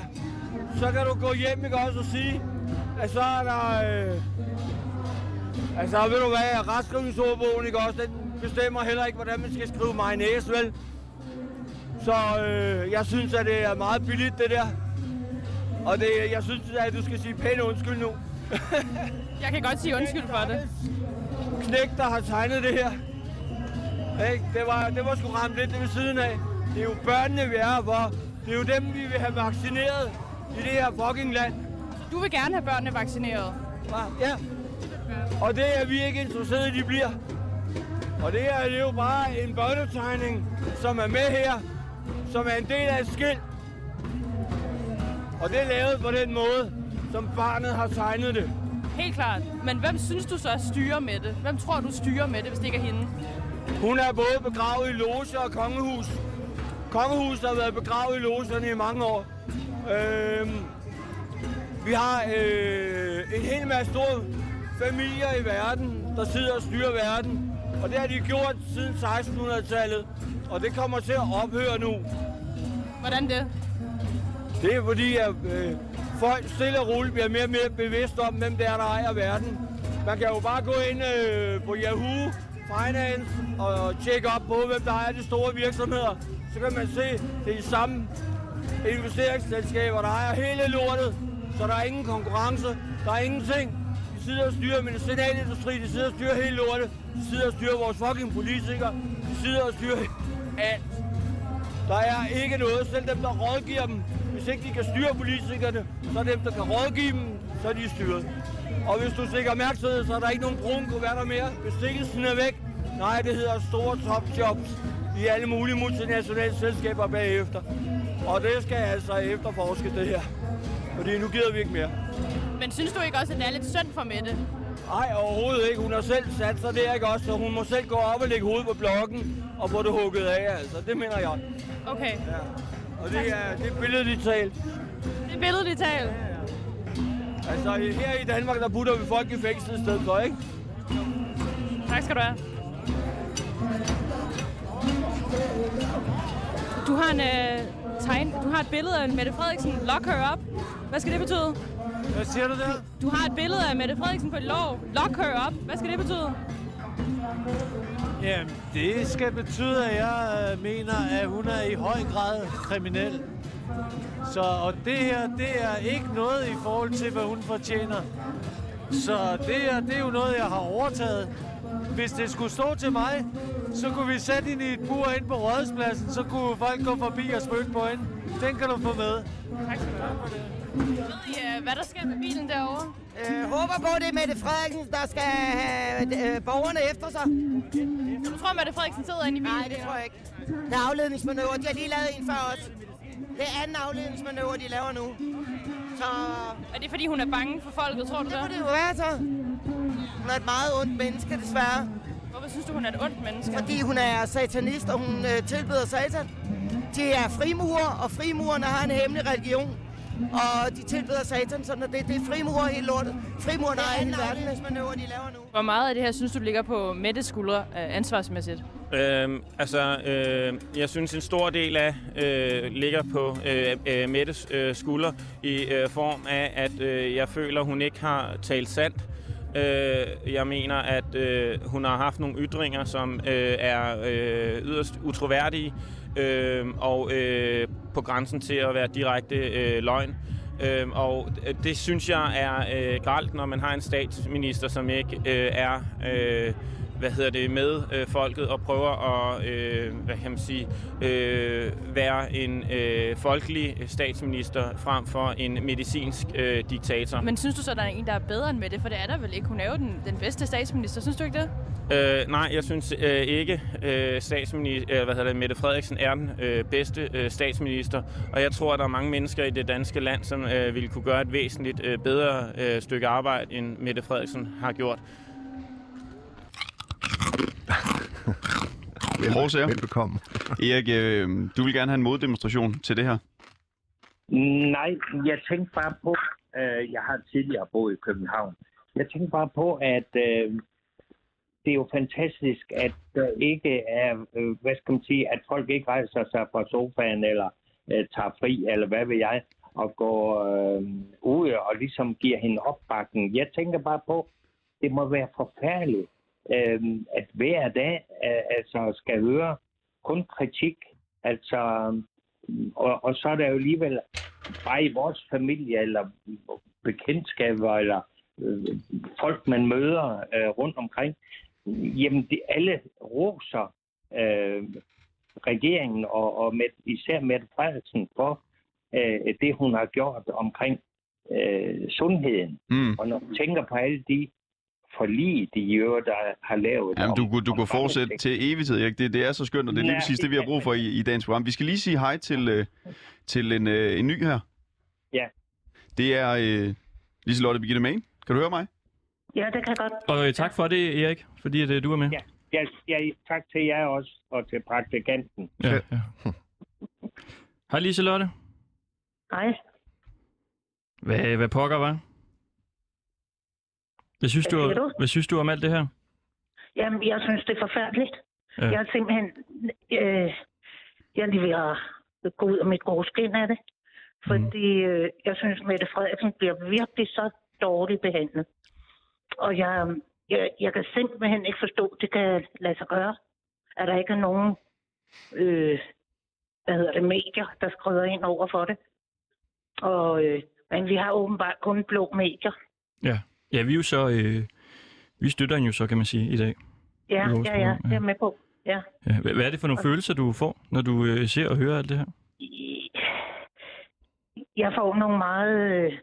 S6: Så kan du gå hjem, ikke også, og sige, at så er der... Øh, altså, ved du hvad, retskrivningsordbogen, ikke også, den bestemmer heller ikke, hvordan man skal skrive mig næse, vel? Så øh, jeg synes, at det er meget billigt, det der. Og det, jeg synes, at du skal sige pænt undskyld nu.
S9: Jeg kan godt sige undskyld for det.
S6: Knæk, der har tegnet det her. Ikke? Det, var, det var sgu ramt lidt ved siden af. Det er jo børnene, vi er her for. Det er jo dem, vi vil have vaccineret i det her fucking land.
S9: Du vil gerne have børnene vaccineret.
S6: hva'? Ja. Og det er vi ikke interesserede i, de bliver. Og det her det er jo bare en børnetegning, som er med her. som er en del af et skilt. Og det er lavet på den måde, som barnet har tegnet det.
S9: Helt klart. Men hvem synes du så styrer med det? Hvem tror du styrer med det, hvis det ikke er hende?
S6: Hun er både begravet i loge og kongehus. Kongehuset har været begravet i logerne i mange år. Øhm, vi har øh, en hel masse store familier i verden, der sidder og styrer verden. Og det har de gjort siden 1600-tallet. Og det kommer til at ophøre nu.
S9: Hvordan det?
S6: Det er fordi, at øh, folk stille og roligt bliver mere og mere bevidst om, hvem det er, der ejer verden. Man kan jo bare gå ind øh, på Yahoo Finance og tjekke op på, hvem der ejer de store virksomheder. Så kan man se, det er de samme investeringsselskaber, der ejer hele lortet. Så der er ingen konkurrence, der er ingenting. De sidder og styrer medicinalindustri, de sidder og styrer hele lortet. De sidder og styrer vores fucking politikere. De sidder og styrer alt. Der er ikke noget, selv dem, der rådgiver dem. Hvis ikke de kan styre politikerne, så er dem, der kan rådgive dem, så er de styret. Og hvis du stikker opmærksomhed, så er der ikke nogen brune kuverter mere. Bestikkelsen er væk. Nej, det hedder store topjobs i alle mulige multinationale selskaber bagefter. Og det skal altså efterforske det her. Fordi nu gider vi ikke mere.
S9: Men synes du ikke også, at det er lidt synd for Mette?
S6: Nej, overhovedet ikke. Hun har selv sat sig der, ikke også? Så hun må selv gå op og lægge hovedet på blokken og få det hugget af, altså. Det mener jeg.
S9: Okay,
S6: Ja. Og det er, det er billedligt talt.
S9: det er billedet, de taler.
S6: Altså, her i Danmark, der putter vi folk i fængsel i stedet for, ikke?
S9: Tak skal du have. Du har, en, øh, tegn, du har et billede af Mette Frederiksen. Lock her up. Hvad skal det betyde?
S6: Hvad siger du der?
S9: Du har et billede af Mette Frederiksen på et lov. Lock her up. Hvad skal det betyde?
S10: Jamen, det skal betyde, at jeg øh, mener, at hun er i høj grad kriminel. Så, og det her, det er ikke noget i forhold til, hvad hun fortjener. Så det her, det er jo noget, jeg har overtaget. Hvis det skulle stå til mig, så kunne vi sætte hende i et bur ind på Rådhuspladsen, så kunne folk gå forbi og spytte på hende. Den kan du få med.
S9: Tak skal du have. Ved I, øh, hvad der sker med bilen derovre?
S11: Øh, håber på, det er Mette Frederiksen, der skal have øh, borgerne efter sig.
S9: Så du tror, Mette Frederiksen sidder inde i bilen?
S11: Nej, det tror jeg ikke. Det er afledningsmanøvre. De har lige lavet en før os. Det er anden afledningsmanøvre, de laver nu. Så
S9: Er det, fordi hun er bange for folket, tror du det?
S11: må det jo være så. Hun er et meget ondt menneske, desværre.
S9: Hvorfor synes du, hun er et ondt menneske?
S11: Fordi hun er satanist, og hun øh, tilbeder satan. De er frimurer, og frimurerne har en hemmelig religion. Og de tilbeder satan, sådan at det, det er frimurer hele lortet. Frimurerne er hele verden. Det er de laver nu.
S9: Hvor meget af det her synes du ligger på Mettes skuldre øh, ansvarsmæssigt?
S12: Øhm, altså, øh, jeg synes, en stor del af øh, ligger på øh, øh, Mettes øh, skulder i øh, form af, at øh, jeg føler, hun ikke har talt sandt. Øh, jeg mener, at øh, hun har haft nogle ytringer, som øh, er øh, yderst utroværdige øh, og øh, på grænsen til at være direkte øh, løgn. Øhm, og det synes jeg er øh, gralt, når man har en statsminister, som ikke øh, er øh, hvad hedder det, med øh, folket og prøver at øh, hvad kan man sige, øh, være en øh, folkelig statsminister frem for en medicinsk øh, diktator.
S9: Men synes du så, der er en, der er bedre end Mette? For det er der vel ikke. Hun er jo den, den bedste statsminister. Synes du ikke det?
S12: Øh, nej, jeg synes øh, ikke, øh, statsminister, øh, hvad hedder det, Mette Frederiksen er den øh, bedste øh, statsminister, og jeg tror, at der er mange mennesker i det danske land, som øh, ville kunne gøre et væsentligt øh, bedre øh, stykke arbejde, end Mette Frederiksen har gjort.
S1: Prøv
S3: Velbekomme.
S1: Erik, øh, du vil gerne have en moddemonstration til det her.
S7: Nej, jeg tænkte bare på, øh, jeg har tidligere boet i København. Jeg tænkte bare på, at øh, det er jo fantastisk, at der ikke er, øh, hvad skal man sige, at folk ikke rejser sig fra sofaen eller øh, tager fri, eller hvad ved jeg, og går øh, ud og ligesom giver hende opbakken. Jeg tænker bare på, det må være forfærdeligt, øh, at hver dag øh, altså skal høre kun kritik. Altså, og, og så er der jo alligevel bare i vores familie, eller bekendtskaber, eller øh, folk, man møder øh, rundt omkring, jamen de, alle roser øh, regeringen, og, og med, især Mette Frederiksen, for øh, det, hun har gjort omkring øh, sundheden.
S1: Mm.
S7: Og når man tænker på alle de forliget i øvrigt, der har lavet.
S1: Jamen,
S7: om-
S1: du, kunne- du
S7: om
S1: kunne fortsætte til evighed, Erik. Det, det er så skønt, og det er lige
S7: Ja,
S1: præcis det, vi har brug for i, i dagens program. Vi skal lige sige hej til, øh, til en, øh, en ny her.
S7: Ja.
S1: Det er øh, Liselotte Birgitte Main. Kan du høre mig?
S13: Ja, det kan jeg godt.
S2: Og øh, tak for det, Erik, fordi at, øh, du er med.
S7: Ja. Ja, ja, tak til jer også, og til praktikanten.
S2: Ja, ja. Hej Liselotte.
S13: Hej.
S2: Hvad, hvad pokker, var? Hvad synes,
S13: Hvad
S2: du,
S13: siger du?
S2: hvad synes du om alt det her?
S13: Jamen, jeg synes, det er forfærdeligt.
S2: Ja.
S13: Ja. Jeg er simpelthen... Øh, jeg er lige ved at gå ud af mit gode skin af det. Fordi øh, jeg synes, Mette Frederiksen bliver virkelig så dårligt behandlet. Og jeg, jeg, jeg kan simpelthen ikke forstå, at det kan lade sig gøre. At der ikke er nogen øh, hvad hedder det, medier, der skrider ind over for det. Og, øh, men vi har åbenbart kun blå medier.
S2: Ja, ja vi er jo så... Øh, vi støtter hende jo så, kan man sige, i dag.
S13: Ja,
S2: I vores
S13: ja, ja,
S2: program,
S13: det er jeg med på. Ja.
S2: Ja, hvad, hvad er det for nogle følelser, du får, når du øh, ser og hører alt det her?
S13: jeg får nogle meget... øh,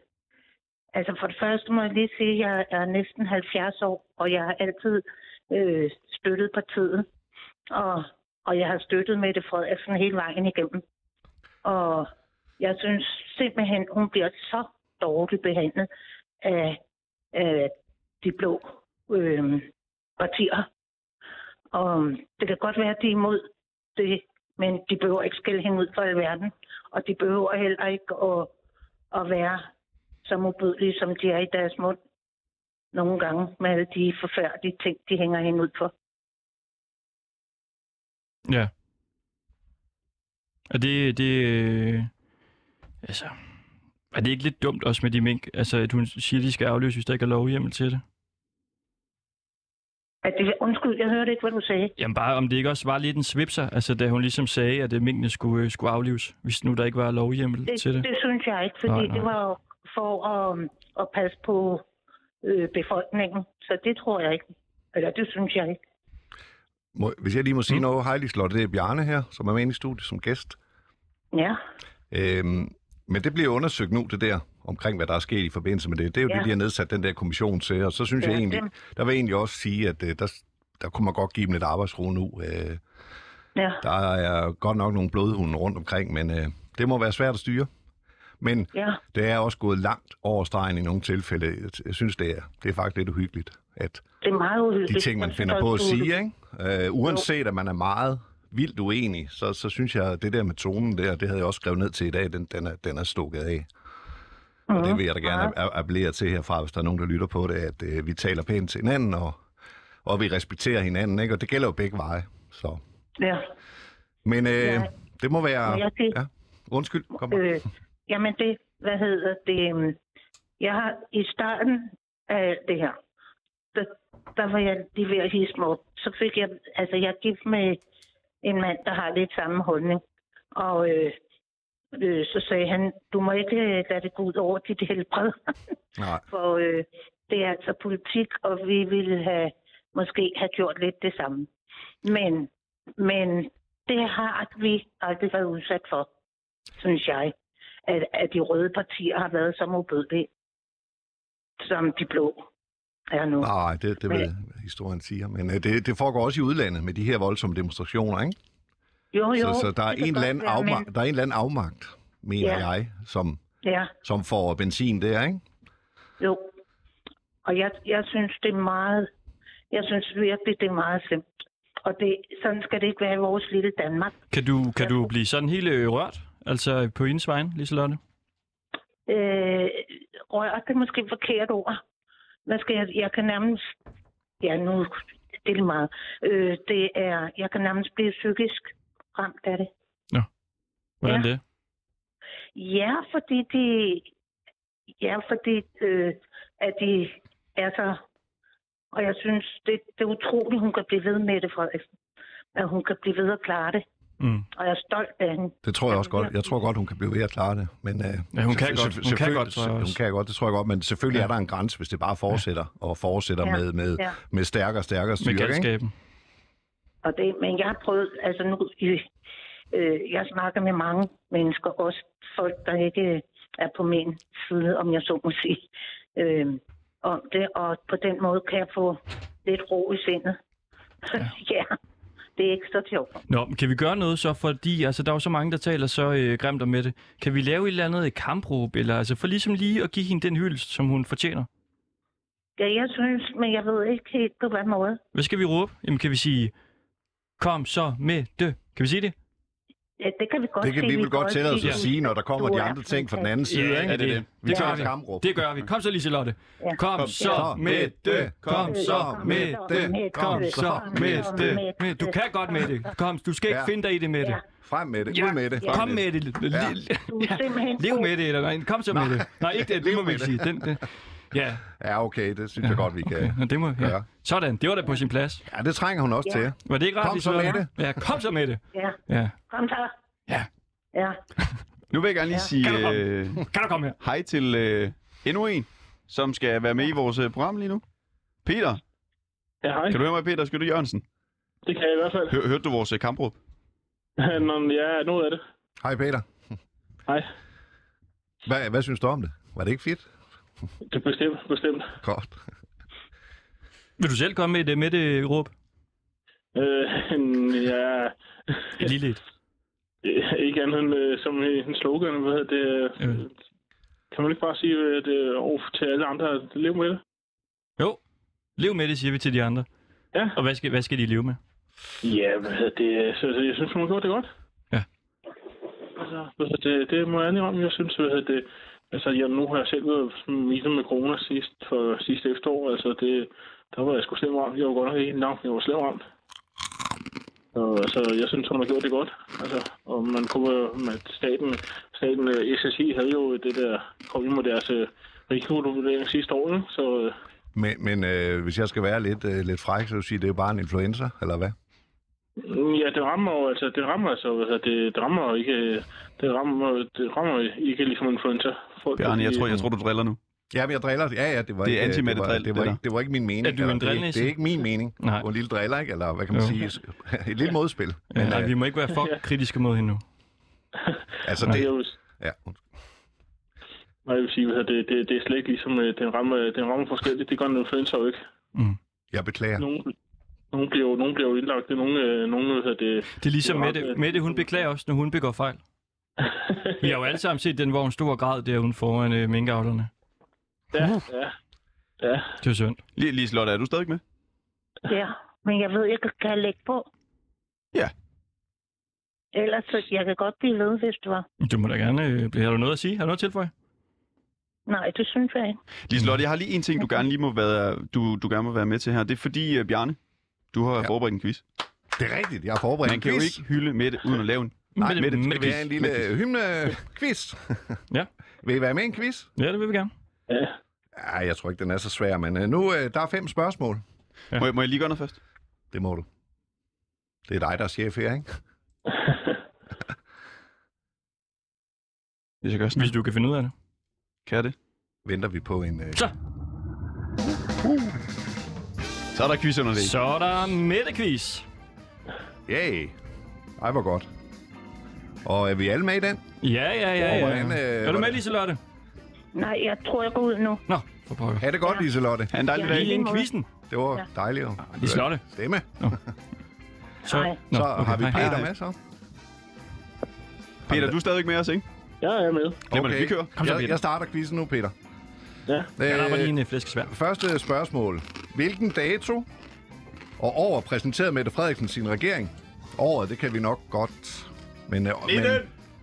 S13: Altså for det første må jeg lige sige, at jeg er næsten 70 år, og jeg har altid øh, støttet partiet. Og, og jeg har støttet Mette Frederiksen hele vejen igennem. Og jeg synes simpelthen, hun bliver så dårligt behandlet af, af de blå øh, partier. Og det kan godt være, at de er imod det, men de behøver ikke skælde hende ud for alverden. Og de behøver heller ikke at, at være så modbydelige, som de er i deres mund nogle gange med alle de forfærdelige ting, de hænger hende ud for.
S2: Ja. Og det, det, øh, altså, er det ikke lidt dumt også med de mink? Altså, at hun siger, at de skal afløses, hvis der ikke er lovhjemmel til det?
S13: At det, undskyld, jeg hørte ikke, hvad du sagde.
S2: Jamen bare, om det ikke også var lidt en svipser, altså da hun ligesom sagde, at øh, minkene skulle, øh, skulle aflives, hvis nu der ikke var lovhjemmel
S13: Det,
S2: Mm, til det.
S13: det synes jeg ikke, fordi
S2: Nej,
S13: nej,
S2: nej.
S13: det var jo for at, at passe på øh, befolkningen. Så det tror jeg ikke. Eller det synes jeg ikke.
S3: Må, hvis jeg lige må sige mm. noget, hej Liselotte, det er Bjarne her, som er med inde i studiet som gæst.
S13: Ja.
S3: Øhm, men det bliver undersøgt nu, det der, omkring hvad der er sket i forbindelse med det. Det er jo ja.
S13: Ja.
S3: det, de har nedsat den der kommission til, og så synes
S13: Ja,
S3: jeg egentlig,
S13: dem.
S3: der vil jeg egentlig også sige, at øh, der, der kunne man godt give dem lidt arbejdsro nu. Øh,
S13: Ja.
S3: Der er godt nok nogle blodhunde rundt omkring, men øh, det må være svært at styre. Men
S13: Ja.
S3: det er også gået langt over stregen i nogle tilfælde. Jeg synes, det er, det er faktisk lidt uhyggeligt, at
S13: Det er meget uhyggeligt.
S3: de ting, man
S13: Jeg synes
S3: finder
S13: også,
S3: på at
S13: du-
S3: sige, ikke? Øh, uanset at man er meget vildt uenig, så, så synes jeg, at det der med tonen der, det havde jeg også skrevet ned til i dag, den, den, er, den er stukket af. Og
S8: Mm.
S3: det vil jeg da gerne a- a- appellere til herfra, hvis der er nogen, der lytter på det, at øh, vi taler pænt til hinanden, og, og vi respekterer hinanden, ikke? Og det gælder jo begge veje, så...
S13: Ja.
S3: Men øh,
S13: Ja.
S3: det må være...
S13: Må jeg sige-
S3: Ja. Undskyld, kom bare.
S13: Øh, jamen det, hvad hedder det? øhm, Jeg har i starten af alt det her, der, der var jeg lige ved at hisse mig op. Så fik jeg, altså jeg er gift med en mand, der har lidt samme holdning. Og øh, øh, så sagde han, du må ikke øh, lade det gå ud over dit helbred.
S3: Nej.
S13: For øh, det er altså politik, og vi ville have, måske have gjort lidt det samme. Men, men det har vi aldrig været udsat for, synes jeg. At, at de røde partier har været så modbydelige, som de blå er nu.
S3: Nej, det, det vil historien siger. Men øh, det, det foregår også i udlandet med de her voldsomme demonstrationer, ikke?
S13: Jo, jo.
S3: så, så der, er
S13: det kan
S3: en
S13: godt
S3: eller anden
S13: være,
S3: afmagt,
S13: men-
S3: der er en eller anden afmagt, mener
S13: Ja.
S3: jeg, som,
S13: Ja,
S3: som får benzin der, ikke?
S13: jo. Og jeg, jeg synes, det er meget... Jeg synes virkelig, det er meget slemt. Og det, sådan skal det ikke være i vores lille Danmark.
S2: Kan du, kan du blive sådan helt øh, rørt, altså på hendes vegne, Liselotte?
S13: øh, rør, det er måske et forkert ord. Hvad skal jeg, jeg kan nærmest, ja nu, det er lige meget, øh, det er, jeg kan nærmest blive psykisk ramt af det.
S2: Hvordan
S13: Ja.
S2: det?
S13: Ja, fordi de, ja, fordi øh, at de er så, og jeg synes, det, det er utroligt, hun kan blive ved med det, Frederiksen. At hun kan blive ved at klare det.
S2: Mm.
S13: Og jeg er stolt af hende.
S3: Det tror jeg også godt. Jeg tror godt, hun kan blive ved at klare det. Men, øh,
S2: Ja, hun kan
S3: selvfø-
S2: godt. Hun kan
S3: selvfølgelig-
S2: godt, tror jeg
S3: hun
S2: også.
S3: kan godt, det tror jeg godt. Men selvfølgelig
S2: Ja.
S3: ja. er der en grænse, hvis det bare fortsætter og fortsætter
S13: Ja.
S3: med, med,
S13: Ja.
S3: med stærkere og stærkere styre. ikke?
S2: galskaben.
S13: Og det, men jeg har prøvet, altså nu, øh, øh, jeg snakker med mange mennesker, også folk, der ikke er på min side, om jeg så må sige. Øh, om det, og på den måde kan jeg få lidt ro i sindet. Ja, ja det er ikke så sjovt.
S2: Nå, men kan vi gøre noget så, fordi altså, der er jo så mange, der taler så øh, grimt om det. Kan vi lave et eller andet kampråb, eller altså for ligesom lige at give hende den hyldest, som hun fortjener?
S13: Ja, jeg synes, men jeg ved ikke helt på hvad måde.
S2: Hvad skal vi råbe? Jamen kan vi sige, kom så med det. Kan vi sige det?
S13: Ja, det kan vi godt
S3: Det kan
S13: se,
S3: vi vel godt tillade os at
S13: du-
S3: sige, når der kommer
S13: du
S3: de
S13: er
S3: andre ting fra den anden side.
S2: Ja,
S3: ikke?
S2: det, det, det.
S3: Vi tager
S2: gør
S3: et kamråb.
S2: Det gør vi. Kom så, Liselotte.
S13: Ja.
S2: Kom, kom så med det. Kom så med det. Kom så med det. Du kan godt med det. Kom, du skal ikke
S3: Ja.
S2: finde dig i det med det.
S3: Frem med det.
S2: Ja.
S3: Ud med det.
S2: Kom med det.
S3: Ja.
S13: Du er simpelthen
S2: Lev med det, eller nej, kom så med det. Nej, ikke det, det må vi ikke sige. Den, den. Ja,
S3: Ja, okay. Det synes jeg godt, vi kan.
S2: og det må, ja.
S3: Ja.
S2: Sådan, det var da på sin plads.
S3: Ja, det trænger hun også
S13: Ja.
S3: til.
S2: Var det ikke rart,
S3: Kom så
S2: Liselotte?
S3: med det.
S2: Ja, kom så med det.
S13: Ja,
S2: Ja.
S13: kom så. Ja. Ja.
S1: Nu vil jeg gerne lige sige øh,
S2: Kan du komme her?
S1: hej til øh, endnu en, som skal være med i vores øh, program lige nu. Peter.
S5: Ja, hej.
S1: Kan du høre mig, Peter Skytte Jørgensen?
S5: Det kan jeg i hvert fald.
S1: Hør, hørte du vores øh, kampråb?
S5: Nå, men ja, noget af det.
S3: Hej, Peter.
S5: Hej.
S3: Hvad, hvad synes du om det? Var det ikke fedt?
S5: Det er bestemt, bestemt.
S3: Godt.
S2: Vil du selv komme med det, med det råb?
S5: Øh, ja,
S2: Et lille et.
S5: ikke andet end øh, som i en slogan, hvad hedder det? Øh. Kan man ikke bare sige at, øh, over til alle andre, at lev med det?
S2: Jo, lev med det, siger vi til de andre.
S5: Ja.
S2: Og hvad skal, hvad skal de leve med?
S5: Ja, hvad hedder det? Så, så jeg synes, hun har gjort det godt.
S2: Ja.
S5: Altså, hvad hedder det, det må jeg lige om, jeg synes, hvad hedder det... Altså, jeg, nu har jeg selv været sådan ligesom med corona sidst, for sidste efterår. Altså, det, der var jeg sgu slem ramt. Jeg var godt nok ikke langt, jeg var slem ramt. Og, altså, jeg synes, hun har gjort det godt. Altså, og man kunne, med staten, staten øh, SSI havde jo det der, kom jo med deres øh, risikovurdering sidste år, ikke? så øh,
S3: Men, men øh, hvis jeg skal være lidt, øh, lidt fræk, så vil jeg sige, at det er bare en influenza, eller hvad?
S5: Ja, det rammer jo, altså, det rammer altså, altså det, det rammer jo ikke, øh, det rammer, det rammer jo ikke ligesom influenza. Folk,
S1: Bjarne, jeg tror, jeg tror,
S5: du...
S1: du driller nu.
S3: Ja, men jeg driller. Ja, ja, det var
S1: Det er
S3: ikke, øh,
S1: anti-Mette
S3: det var,
S1: Drill,
S3: det, var
S1: det
S3: ikke,
S1: der.
S3: det var ikke min mening.
S2: Er du en
S3: eller det,
S2: drillnisse?
S3: det, er ikke min mening.
S2: Nej.
S3: Nej. en lille driller, ikke? Eller hvad kan man
S2: Jo.
S3: sige? Et lille modspil.
S2: Ja,
S3: Men,
S2: nej,
S3: øh,
S2: vi må ikke være for kritiske mod hende nu.
S3: altså,
S5: Nej,
S3: det,
S5: jeg vil,
S3: ja,
S5: nej, jeg vil sige, altså, det, det, det er slet ikke ligesom, øh, den rammer, den rammer forskelligt, det gør en influenza jo ikke.
S3: jeg beklager.
S5: Nogen, nogen bliver, jo- nogen bliver jo indlagt, det er nogen, øh, nogen, hvad hedder det...
S2: Det er ligesom
S5: det øh,
S2: Mette, Mette hun beklager også, når hun begår fejl. Vi har jo alle sammen set den, hvor hun stor græd derude foran øh, minkavlerne.
S5: Ja, ja, ja,
S2: Det er synd.
S1: Lige, lige Lotte, er du stadig med?
S13: Ja, men jeg ved, jeg kan, kan jeg lægge på.
S1: Ja.
S13: Ellers, så jeg kan godt blive ved, hvis du var.
S2: Du må da gerne... Øh, blive- har du noget at sige? Har du noget til for
S13: Nej, det synes jeg ikke.
S1: Liselotte, jeg har lige en ting, du gerne lige må være, du, du gerne må være med til her. Det er fordi, uh, Bjarne, du har ja. forberedt en quiz.
S3: Det er rigtigt. Jeg har forberedt
S1: Man
S3: en
S1: kan jo
S3: quiz.
S1: ikke hylde Mette uden at lave en.
S3: Nej,
S2: Mette-
S3: Mette, det
S2: Mette
S3: skal
S2: quiz.
S3: være en lille øh,
S2: Mette
S3: hymne-quiz.
S2: Ja.
S3: Vil I være med i en quiz?
S2: Ja, det vil vi gerne.
S5: ja.
S3: Ej, jeg tror ikke, den er så svær, men øh, nu øh, der er fem spørgsmål.
S1: Må, jeg- må jeg lige gøre noget først?
S3: Det må du. Det er dig, der er chef her, ikke?
S1: Hvis jeg gør sådan,
S2: Hvis du kan finde ud af det.
S1: kan jeg det?
S3: Venter vi på en... Øh...
S2: Så,
S1: Uh. Så er der quiz under det.
S2: så er der Mette-quiz.
S3: Yay! Ej, hvor godt. Og er vi alle med i den?
S2: Ja, ja, ja,
S3: Åh,
S2: ja.
S3: hvordan, øh,
S2: er du med,
S3: hvordan-
S2: Liselotte?
S13: Nej, jeg tror, jeg går ud nu.
S2: Nå, for pokker.
S3: Ha' det godt, Liselotte.
S1: Ha' en dejlig
S13: Ja.
S1: dag.
S2: Lige
S13: lige
S2: inden
S13: måde.
S2: quizzen.
S3: Det var dejligt at
S2: Liselotte.
S3: stemme.
S2: Så,
S13: Hej.
S2: Nå,
S3: Så har vi
S2: hej, hej.
S3: Peter med, så.
S1: Peter, du er stadig med os, ikke?
S5: Jeg er med.
S1: Jamen, vi kører.
S2: Kom så,
S3: Jeg,
S2: Peter.
S3: jeg starter quizzen nu, Peter.
S5: Ja.
S2: Jeg lapper lige
S3: Øh,
S2: en øh, flæskesvær.
S3: første spørgsmål. Hvilken dato og år præsenterede Mette Frederiksen sin regering? Året, det kan vi nok godt. Men, øh, men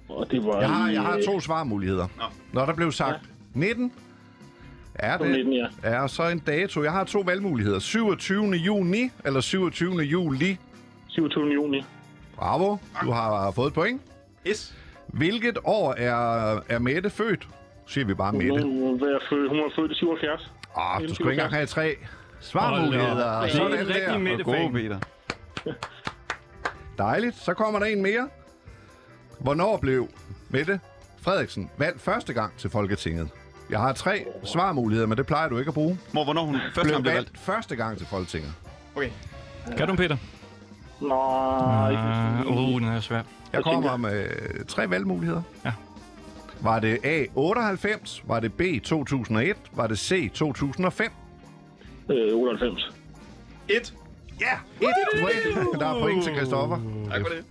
S5: Og det var...
S3: jeg, har,
S5: i,
S3: jeg har
S5: øh,
S3: to svarmuligheder. Nå. Når der blev sagt 19, er
S5: Som
S3: det
S5: 19, ja.
S3: er så en dato. Jeg har to valgmuligheder. 27. juni eller 27. juli.
S5: 27. juni.
S3: Bravo, du har fået et point.
S1: Yes.
S3: Hvilket år er, er Mette født? Siger vi bare Mette.
S5: Hun, hun, var født- hun var født i 77.
S3: Ah, du skulle ikke engang have tre
S2: Hold
S3: svarmuligheder.
S2: da op. Det er en
S3: Sådan
S2: rigtig
S3: der.
S2: Mette.
S1: Det er gode, Peter.
S3: Dejligt. Så kommer der en mere. Hvornår blev Mette Frederiksen valgt første gang til Folketinget? Jeg har tre svarmuligheder, men det plejer du ikke at bruge.
S1: Mor, hvornår hun første gang
S3: Blev
S1: blev valgt?
S3: valgt første gang til Folketinget.
S1: Okay.
S2: Gør du, den, Peter?
S5: Nej,
S2: Uh, oh, den er svær.
S3: Jeg kommer med tre øh, valgmuligheder.
S2: Ja.
S3: Var det A 98? Var det B 2001? Var det C 2005?
S5: Øh, 98.
S1: Et.
S3: Ja, et point. Der er point til Christoffer. Tak for det.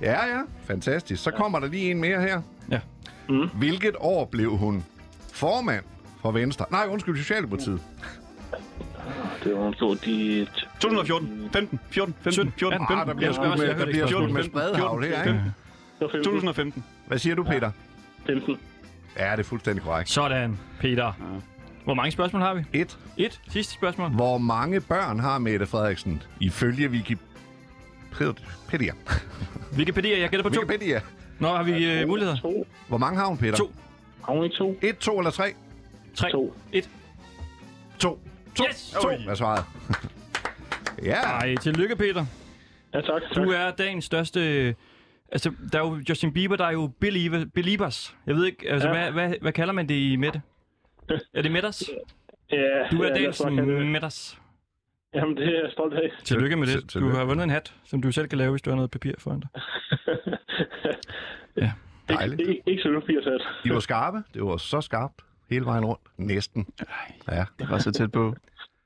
S3: Ja, ja. Fantastisk. Så kommer der lige en mere her.
S2: Ja.
S3: Mm. Hvilket år blev hun formand for Venstre? Nej, undskyld, Socialdemokratiet.
S5: Det var en stor de...
S1: 2014, 15, 14, 15, 14, 15.
S3: Ah, der bliver
S1: Jeg
S3: skudt
S1: hørte
S3: med,
S1: ikke
S3: der bliver skudt
S1: spørgsmålet.
S3: med spredhavl her, ikke?
S1: 2015.
S3: Hvad siger du, Peter?
S5: 15.
S3: Ja, det er fuldstændig korrekt.
S2: Sådan, Peter. Hvor mange spørgsmål har vi?
S3: Et.
S2: Et. Sidste spørgsmål.
S3: Hvor mange børn har Mette Frederiksen ifølge Wikipedia?
S2: Wikipedia, jeg gætter på to.
S3: Wikipedia.
S2: Nå, har vi øh, muligheder?
S5: To.
S3: Hvor mange har hun, Peter?
S2: To.
S5: Har hun ikke to?
S3: Et, to eller tre?
S2: Tre.
S5: To.
S2: Et.
S3: To. To.
S2: Yes!
S3: To er svaret. ja.
S2: Ej, tillykke, Peter.
S5: Ja, tak.
S2: Du er dagens største... Altså, der er jo Justin Bieber, der er jo believer, Believers. Jeg ved ikke, altså, ja.
S5: Ja.
S2: hvad, hvad, hvad kalder man det i Mette? Er det Metters?
S5: Ja,
S2: Du er
S5: ja, lad os
S2: dagens
S5: bare kalde det-
S2: Metters.
S5: Jamen, det er jeg stolt af.
S2: Tillykke med
S3: Til-
S2: det. Du
S3: tillykke.
S2: har vundet en hat, som du selv kan lave, hvis du har noget papir foran dig. Ja.
S3: Dejligt.
S5: Ikke, ikke så du 80
S3: De var skarpe. Det var så skarpt. Hele vejen rundt. Næsten. Ja.
S1: Det var så tæt på.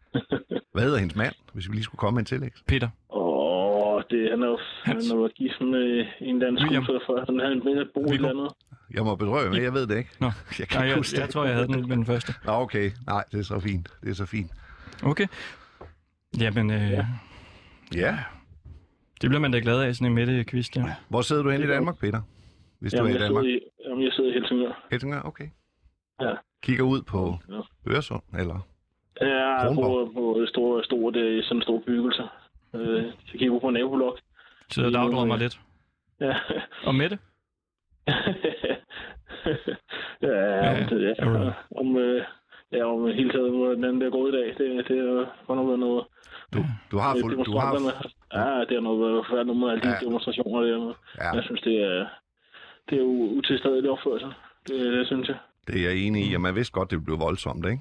S3: Hvad hedder hendes mand, hvis vi lige skulle komme med en tillæg?
S2: Peter.
S5: Åh, det, han er jo han er jo gift med øh, en eller anden
S2: William.
S5: skuespiller for, han havde en ven at bo i et eller andet.
S3: Jeg må bedrøve men jeg ved det ikke.
S2: Nå,
S3: Jeg kan
S2: Nej,
S3: ikke
S2: jeg,
S3: huske det.
S2: jeg tror, jeg havde den med den første.
S3: Nå, okay. Nej, det er så fint. Det er så fint.
S2: Okay. Jamen, øh, ja.
S3: Ja.
S2: det bliver man da glad af, sådan en Mette-quiz der.
S3: Hvor sidder du hen i Danmark, Peter? Hvis du
S5: Jamen,
S3: er
S5: jeg
S3: i
S5: sidder
S3: Danmark.
S5: i, jamen, jeg sidder i Helsingør.
S3: Helsingør, okay.
S5: Ja.
S3: Kigger ud på
S5: Ja.
S3: Øresund, eller?
S5: Ja, på,
S3: Kronborg.
S5: på store, store, det er sådan store byggelser. Øh, så kigger vi på nabolok.
S2: Så jeg dagdrømmer mig lidt.
S5: Ja.
S2: Og Mette?
S5: ja, ja, det, ja.
S2: alright.
S5: Om, øh, ja, om hele taget, hvor den anden der går i dag, det, det har nok været noget.
S3: Du, du
S5: Øh,
S3: har fuldt... Du har,
S5: demonstranterne. Ja, det har nok været forfærdeligt med alle de
S3: Ja.
S5: demonstrationer der.
S3: ja,
S5: Jeg synes, det er, det er jo utilstedelig opførsel. Det, det synes jeg.
S3: det er jeg enig i, og man vidste godt, det blev voldsomt, ikke?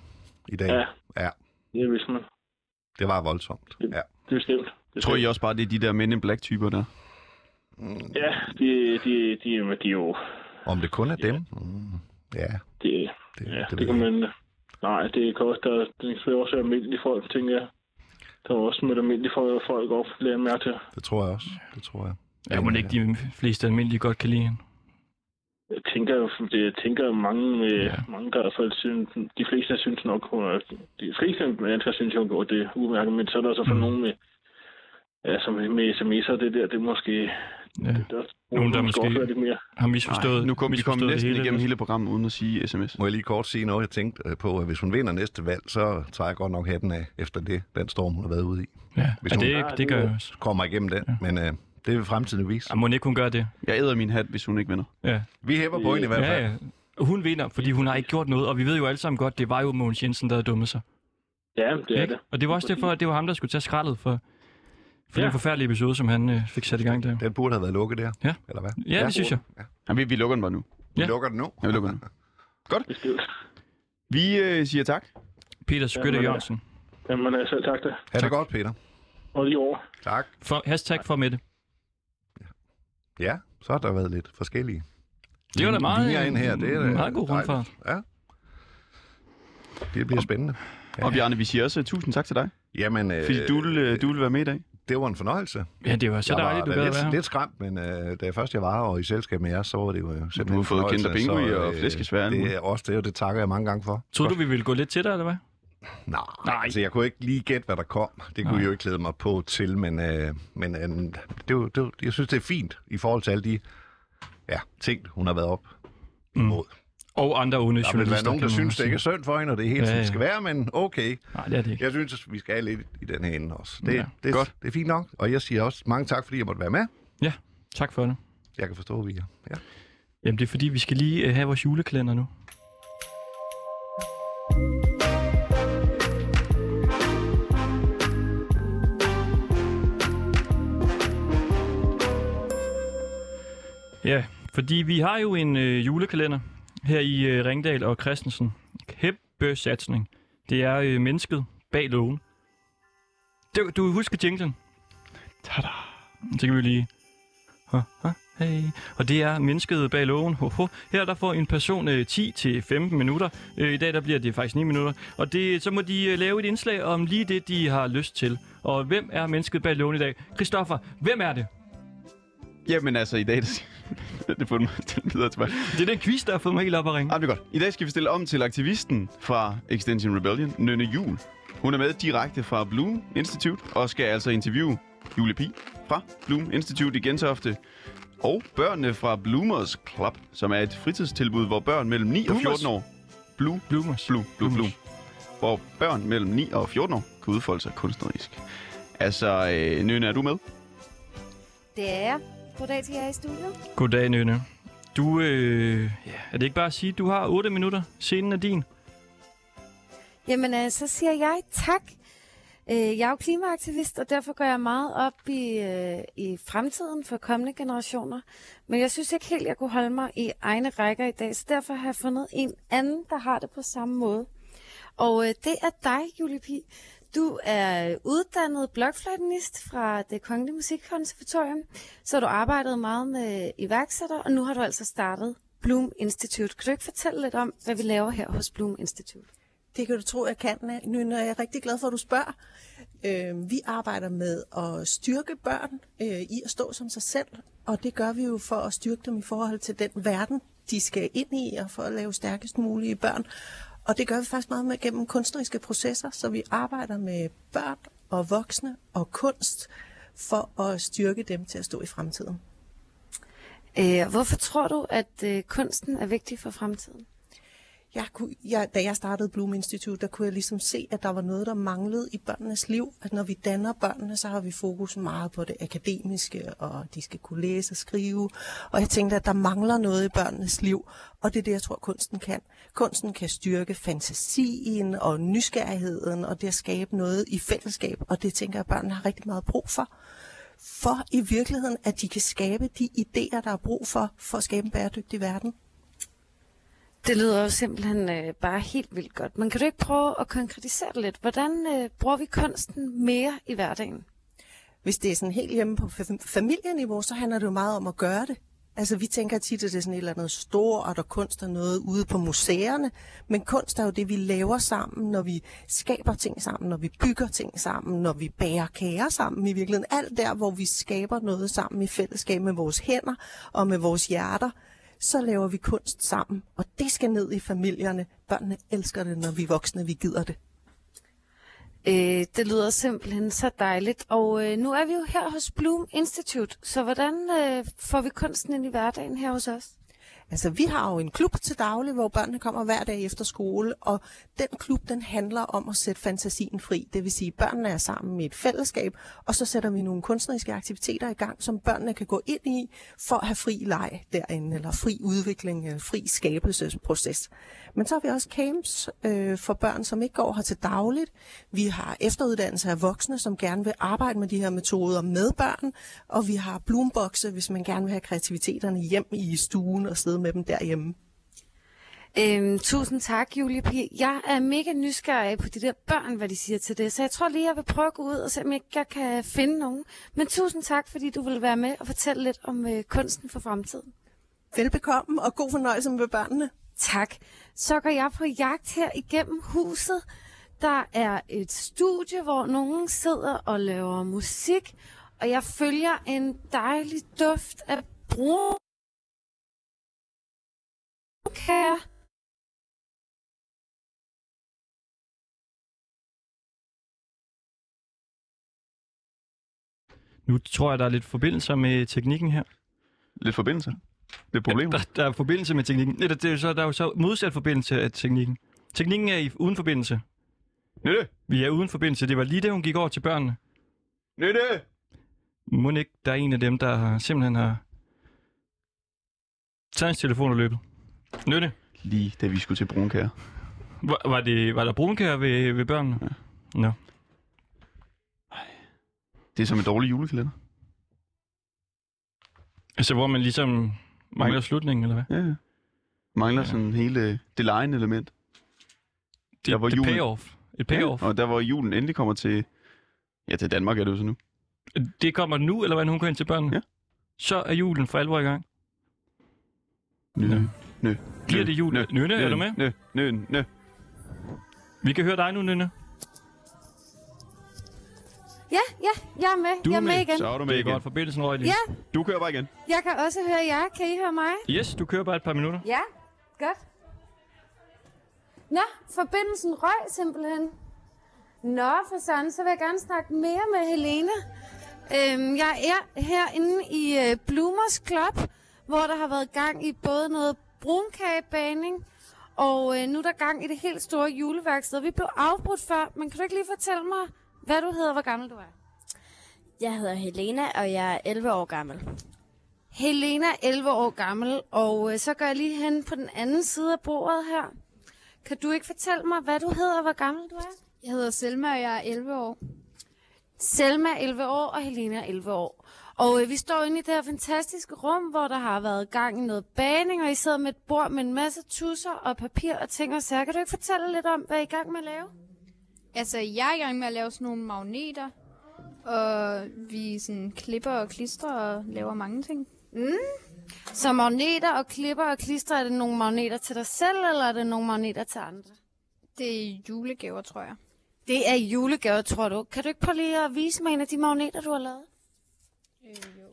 S3: I dag.
S5: Ja.
S3: ja.
S5: Det vidste man.
S3: Det var voldsomt. Ja.
S5: Det er bestemt. Det er
S1: Tror I også bare, det er de der Men in Black-typer der?
S5: bestemt. Ja, de, de, de, de, de er jo...
S3: Om det kun er dem? Mm. Ja,
S5: Det, ja,
S3: det,
S5: det,
S3: ved
S5: det kan
S3: jeg.
S5: man... Nej, det kan også... Der, det kan også være almindelige folk, tænker jeg. Der er også med almindelige folk, folk op, lærer mærke til.
S3: det tror jeg også. Det tror jeg.
S2: Jeg må
S3: Men,
S2: ikke
S3: øh,
S2: de fleste almindelige godt kan lide hende.
S5: Jeg tænker, det, jeg tænker mange,
S2: Ja.
S5: ja. mange der i hvert fald synes, de fleste synes nok, hun er, de fleste mennesker synes jo, hun gjorde det udmærket, men så er der så for
S2: Mm.
S5: mm. nogen med, ja, som med sms'er, det der, det er måske,
S2: Ja.
S5: det der,
S2: Nogen, der måske-
S5: også være lidt mere.
S2: Har misforstået,
S1: Nej, nu kom, vi kom
S2: misforstået det
S1: næsten
S2: hele.
S1: igennem hele programmet uden at sige sms.
S3: Må jeg lige kort sige noget, jeg tænkte øh, på, at hvis hun vinder næste valg, så tager jeg godt nok hatten af efter det, den storm, hun har været ude i.
S2: Ja,
S3: Hvis
S2: ja
S3: hun-
S2: det, det gør jeg også.
S3: Kommer igennem den, ja. men øh, det vil fremtiden vise.
S2: Ja, må ikke hun gøre det?
S1: Jeg æder min hat, hvis hun ikke vinder.
S2: Ja.
S3: Vi hæpper på hende i hvert fald.
S2: ja, ja. Hun vinder, fordi hun har ikke gjort noget, og vi ved jo alle sammen godt, det var jo Mogens Jensen, der havde dummet sig.
S5: Ja, det er
S2: ikke?
S5: det.
S2: Og det var også derfor, at det var ham, der skulle tage skraldet for, for ja.
S5: Ja.
S2: den forfærdelige episode, som han øh, fik sat i gang der.
S3: Den burde have været lukket der,
S2: Ja.
S3: eller hvad?
S2: Ja, det synes jeg.
S1: Ja, vi, vi lukker den bare nu.
S3: Vi
S2: Ja.
S3: lukker den nu.
S1: Ja, vi lukker den.
S5: Bestemt.
S1: Vi øh, siger tak.
S2: Peter Skytte
S5: Jamen, ja.
S2: Jørgensen.
S5: Jamen, øh, selv tak da.
S3: Ha' det godt, Peter.
S5: Og lige over.
S3: Tak.
S2: For, hashtag for Mette.
S3: Ja, så har der været lidt forskellige.
S2: Det var da meget, øh,
S3: linjer ind her. Det er da
S2: meget god
S3: dejligt.
S2: rundfart.
S3: Ja. Det bliver spændende.
S1: Og Bjarne, vi siger også øh, tusind tak til dig,
S3: Jamen, øh,
S1: fordi du, vil, øh, du vil være med i dag.
S3: det var en fornøjelse.
S2: Ja, det var så
S3: Jeg var
S2: dejligt, du
S3: da
S2: gad at
S3: lidt,
S2: være her.
S3: lidt skræmt, men øh, da først jeg var her og i selskab med jer, så var det jo øh, simpelthen
S1: Du har
S3: en
S1: fået
S3: fornøjelse,
S1: Kinder Pingu i
S3: så, øh,
S1: og flæskesvær.
S3: Det er også det, og det takker jeg mange gange for.
S2: Tror du, vi ville gå lidt til dig, eller hvad?
S3: Nej,
S2: Nej.
S3: Nej. Altså, jeg kunne ikke lige gætte, hvad der kom. Det kunne
S2: Nej.
S3: Nej. jeg jo ikke klæde mig på til, men, øh, men øh, det, er jo- det, er jo- jeg synes, det er fint i forhold til alle de ja, ting, hun har været op imod. Mm.
S2: Og andre onde
S3: Der vil være nogen, der
S2: kan man
S3: synes,
S2: også
S3: det ikke er synd for hende, og det er helt,
S2: Ja,
S3: ja, ja.
S2: ja.
S3: skal være, men okay.
S2: sige. Nej, det er det ikke.
S3: Jeg synes, at vi skal have lidt i den her ende også. Det,
S2: Ja.
S3: ja. det,
S1: Godt.
S3: Godt. det er fint nok, og jeg siger også mange tak, fordi jeg måtte være med.
S2: Ja, tak for det.
S3: Jeg kan forstå, at vi er. Ja.
S2: Jamen, det er fordi, vi skal lige øh, have vores juleklænder nu. Ja, fordi vi har jo en øh, julekalender her i øh, Ringdal og Christensen. Kæmpe satsning. Det er øh, mennesket bag lågen. Du, du husker jinglen? Tada! Så kan vi jo lige Ha, ha, hey. Og det er mennesket bag loven. Ho, ho. Her der får en person øh, 10-15 minutter. Øh, I dag der bliver det faktisk 9 minutter. Og det, så må de øh, lave et indslag om lige det, de har lyst til. Og hvem er mennesket bag loven i dag? Christoffer, hvem er det?
S1: Jamen altså, i dag... Der... det har fået mig til videre tilbage.
S2: Det er den quiz, der har fået mig helt op at ringe.
S1: Ah, det er godt. I dag skal vi stille om til aktivisten fra Extension Rebellion, Nynne Jul. Hun er med direkte fra Bloom Institute og skal altså interviewe Julie Pi fra Bloom Institute i Gentofte. Og børnene fra Bloomers Club, som er et fritidstilbud, hvor børn mellem 9 og
S2: Bloomers?
S1: 14 år... Blue,
S2: Bloomers.
S1: Blue, Blue, Bloom. Hvor børn mellem 9 og 14 år kan udfolde sig kunstnerisk. Altså, øh, Nynne, er du med?
S14: Det er jeg. Goddag til jer i studiet.
S2: Goddag, Nynne. Du, øh, ja, er det ikke bare at sige, at du har 8 minutter? Scenen er din.
S14: Jamen, øh, så siger jeg tak. Øh, jeg er jo klimaaktivist, og derfor går jeg meget op i, øh, i fremtiden for kommende generationer. Men jeg synes ikke helt, jeg kunne holde mig i egne rækker i dag, så derfor har jeg fundet en anden, der har det på samme måde. Og øh, det er dig, Julie Pi. Du er uddannet blokfløjtenist fra det Kongelige Musikkonservatorium, så har du arbejdet meget med iværksættere, og nu har du altså startet Bloom Institute. Kan du ikke fortælle lidt om, hvad vi laver her hos Bloom Institute?
S15: Det kan du tro, jeg kan, Nynne, og jeg er rigtig glad for, at du spørger. Øh, vi arbejder med at styrke børn øh, i at stå som sig selv, og det gør vi jo for at styrke dem i forhold til den verden, de skal ind i, og for at lave stærkest mulige børn. Og det gør vi faktisk meget med gennem kunstneriske processer, så vi arbejder med børn og voksne og kunst for at styrke dem til at stå i fremtiden.
S14: Øh, hvorfor tror du, at øh, kunsten er vigtig for fremtiden?
S15: jeg kunne, jeg, da jeg startede Bloom Institute, der kunne jeg ligesom se, at der var noget, der manglede i børnenes liv. At når vi danner børnene, så har vi fokus meget på det akademiske, og de skal kunne læse og skrive. Og jeg tænkte, at der mangler noget i børnenes liv, og det er det, jeg tror, kunsten kan. Kunsten kan styrke fantasien og nysgerrigheden, og det at skabe noget i fællesskab, og det tænker jeg, at børnene har rigtig meget brug for for i virkeligheden, at de kan skabe de idéer, der er brug for, for at skabe en bæredygtig verden.
S14: Det lyder jo simpelthen øh, bare helt vildt godt. Men kan du ikke prøve at konkretisere det lidt? Hvordan øh, bruger vi kunsten mere i hverdagen?
S15: hvis det er sådan helt hjemme på fa- familieniveau, så handler det jo meget om at gøre det. Altså, vi tænker tit, at det er sådan et eller andet stort, og kunst er noget ude på museerne. Men kunst er jo det, vi laver sammen, når vi skaber ting sammen, når vi bygger ting sammen, når vi bærer kager sammen i virkeligheden. Alt der, hvor vi skaber noget sammen i fællesskab med vores hænder og med vores hjerter, så laver vi kunst sammen. Og det skal ned i familierne. Børnene elsker det, når vi voksne, vi gider det.
S14: Øh, det lyder simpelthen så dejligt. Og øh, nu er vi jo her hos Bloom Institute, så hvordan øh, får vi kunsten ind i hverdagen her hos os?
S15: Altså, vi har jo en klub til daglig, hvor børnene kommer hver dag efter skole, og den klub, den handler om at sætte fantasien fri. Det vil sige, at børnene er sammen i et fællesskab, og så sætter vi nogle kunstneriske aktiviteter i gang, som børnene kan gå ind i for at have fri leg derinde, eller fri udvikling, øh, fri skabelsesproces. Men så har vi også camps øh, for børn, som ikke går her til dagligt. Vi har efteruddannelse af voksne, som gerne vil arbejde med de her metoder med børn, og vi har bloombokse, hvis man gerne vil have kreativiteterne hjem i stuen og sidde med dem derhjemme.
S14: Øhm, tusind tak, Julie P. Jeg er mega nysgerrig på de der børn, hvad de siger til det, så jeg tror lige, jeg vil prøve at gå ud og se, om ikke jeg kan finde nogen. Men tusind tak, fordi du vil være med og fortælle lidt om øh, kunsten for fremtiden.
S15: Velbekomme, og god fornøjelse med børnene.
S14: Tak. Så går jeg på jagt her igennem huset. Der er et studie, hvor nogen sidder og laver musik, og jeg følger en dejlig duft af brun kager.
S2: Nu tror jeg, der er lidt forbindelser med teknikken her.
S1: Lidt forbindelser? Lidt problemer?
S2: Der, der er forbindelse med teknikken. Eller det er jo så, der er jo så modsat forbindelse af teknikken. Teknikken er i, uden forbindelse.
S1: Nytte!
S2: Vi er uden forbindelse. Det var lige det, hun gik over til børnene.
S1: Nytte!
S2: Må ikke, der er en af dem, der har- simpelthen har taget hans telefon og løbet. Nytte.
S1: Lige da vi skulle til brunkager.
S2: Var, var, det, var der brunkager ved, ved børnene? Ja. Nå.
S1: Det er som en dårlig julekalender.
S2: Altså, hvor man ligesom mangler
S1: Men-
S2: slutningen, eller hvad?
S1: Ja, ja. Mangler ja. sådan hele det lejende element.
S2: Det, det payoff. Et payoff.
S1: Ja, og der hvor julen endelig kommer til, ja til Danmark er det jo så nu.
S2: Det kommer nu, eller hvad, når hun går ind til børnene? Ja. så er julen for alvor i gang.
S1: Nø, nø.
S2: Bliver det jul? Nynne, er
S1: nø,
S2: du med?
S1: Nø, nø, nø.
S2: Vi kan høre dig nu, Nynne.
S14: Ja, ja, jeg er med.
S2: Du
S14: jeg er med, igen.
S2: Så er du med det er igen. godt. Forbindelsen røg lige.
S14: Ja.
S1: Du kører bare igen.
S14: Jeg kan også høre jer. Kan I høre mig?
S2: Yes, du kører bare et par minutter.
S14: Ja, godt. Nå, forbindelsen røg simpelthen. Nå, for sådan, så vil jeg gerne snakke mere med Helene. Øhm, jeg er herinde i øh, Bloomers Club, hvor der har været gang i både noget brunkagebaning, og øh, nu er der gang i det helt store juleværksted. Vi blev afbrudt før, men kan du ikke lige fortælle mig, hvad du hedder og hvor gammel du er?
S16: Jeg hedder Helena, og jeg er 11 år gammel.
S14: Helena er 11 år gammel, og øh, så går jeg lige hen på den anden side af bordet her. Kan du ikke fortælle mig, hvad du hedder og hvor gammel du er? Jeg hedder Selma, og jeg er 11 år. Selma er 11 år, og Helena er 11 år. Og øh, vi står inde i det her fantastiske rum, hvor der har været gang i noget baning, og I sidder med et bord med en masse tusser og papir og ting og sager. Kan du ikke fortælle lidt om, hvad I er i gang med at lave?
S17: Altså, jeg er i gang med at lave sådan nogle magneter, og vi sådan klipper og klistrer og laver mange ting.
S14: Mm. Så magneter og klipper og klister, er det nogle magneter til dig selv, eller er det nogle magneter til andre?
S17: Det er julegaver, tror jeg.
S14: Det er julegaver, tror du. Kan du ikke prøve lige at vise mig en af de magneter, du har lavet?
S17: Øh, jo.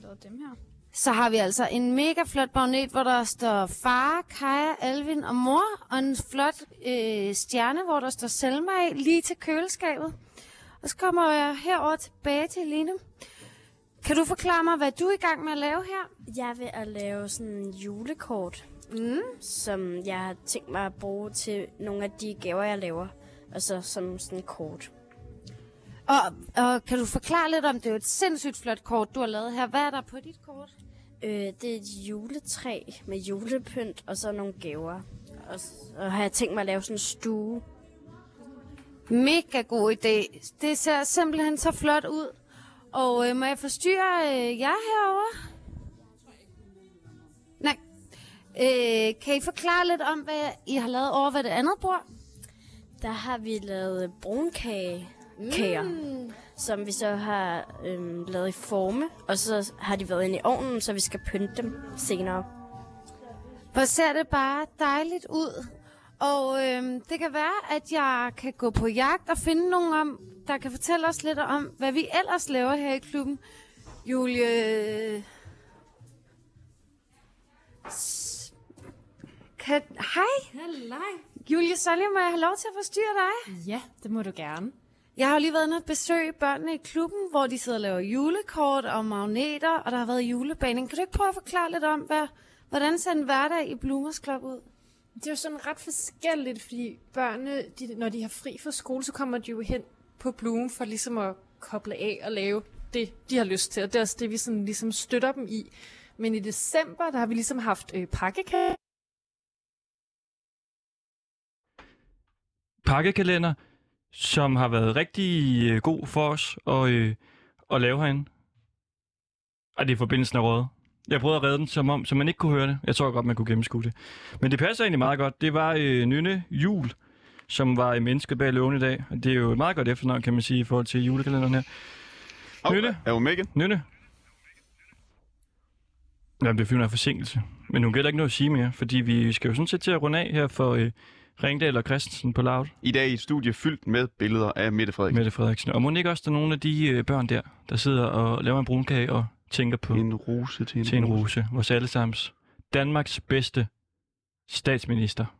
S17: Hvad er dem her?
S14: Så har vi altså en mega flot magnet, hvor der står far, Kaja, Alvin og mor, og en flot øh, stjerne, hvor der står Selma af, lige til køleskabet. Og så kommer jeg herover tilbage til Helene. Kan du forklare mig, hvad du er i gang med at lave her?
S16: Jeg vil at lave sådan en julekort,
S14: mm.
S16: som jeg har tænkt mig at bruge til nogle af de gaver, jeg laver. Og så som sådan en kort.
S14: Og, og kan du forklare lidt om, det er jo et sindssygt flot kort, du har lavet her. Hvad er der på dit kort?
S16: Øh, det er et juletræ med julepynt og så nogle gaver. Og, s- og har jeg tænkt mig at lave sådan en stue.
S14: Mega god idé. Det ser simpelthen så flot ud. Og øh, må jeg forstyrre øh, jer herover? Nej. Øh, kan I forklare lidt om, hvad I har lavet over ved det andet bord?
S16: Der har vi lavet brunkage. Kager,
S14: Mm.
S16: som vi så har øhm, lavet i forme, og så har de været inde i ovnen, så vi skal pynte dem senere.
S14: Hvor ser det bare dejligt ud. Og øhm, det kan være, at jeg kan gå på jagt og finde nogen om, der kan fortælle os lidt om, hvad vi ellers laver her i klubben. Julie... S- Kan... Hej!
S18: Halløj.
S14: Julie Solje, må jeg have lov til at forstyrre dig?
S18: Ja, det må du gerne.
S14: Jeg har jo lige været inde og besøge børnene i klubben, hvor de sidder og laver julekort og magneter, og der har været julebaning. Kan du ikke prøve at forklare lidt om, hvad, hvordan ser en hverdag i Bloomers Club ud?
S18: Det er jo sådan ret forskelligt, fordi børnene, de, når de har fri fra skole, så kommer de jo hen på Bloom for ligesom at koble af og lave det, de har lyst til. Og det er også det, vi sådan ligesom støtter dem i. Men i december, der har vi ligesom haft øh, pakkekage.
S2: Pakkekalender, som har været rigtig øh, god for os at, øh, at lave herinde. Og det er forbindelsen af rådet. Jeg prøvede at redde den, som om så man ikke kunne høre det. Jeg tror godt, man kunne gennemskue det. Men det passer egentlig meget godt. Det var øh, Nynne Jul, som var i mennesket bag lågen i dag. Og det er jo et meget godt efternavn, kan man sige, i forhold til julekalenderen her. Oh, Nynne?
S1: Er hun med igen?
S2: Nynne? Jamen, det er fordi, hun er forsinkelse. Men hun gælder ikke noget at sige mere, fordi vi skal jo sådan set til at runde af her for øh, Ringdal og Christensen på Loud.
S1: I dag i et studie fyldt med billeder af Mette Frederiksen.
S2: Mette Frederiksen. Og må ikke også der er nogle af de øh, børn der, der sidder og laver en brunkage og tænker på...
S1: En rose til en
S2: til en rose. Vores allesammens Danmarks bedste statsminister.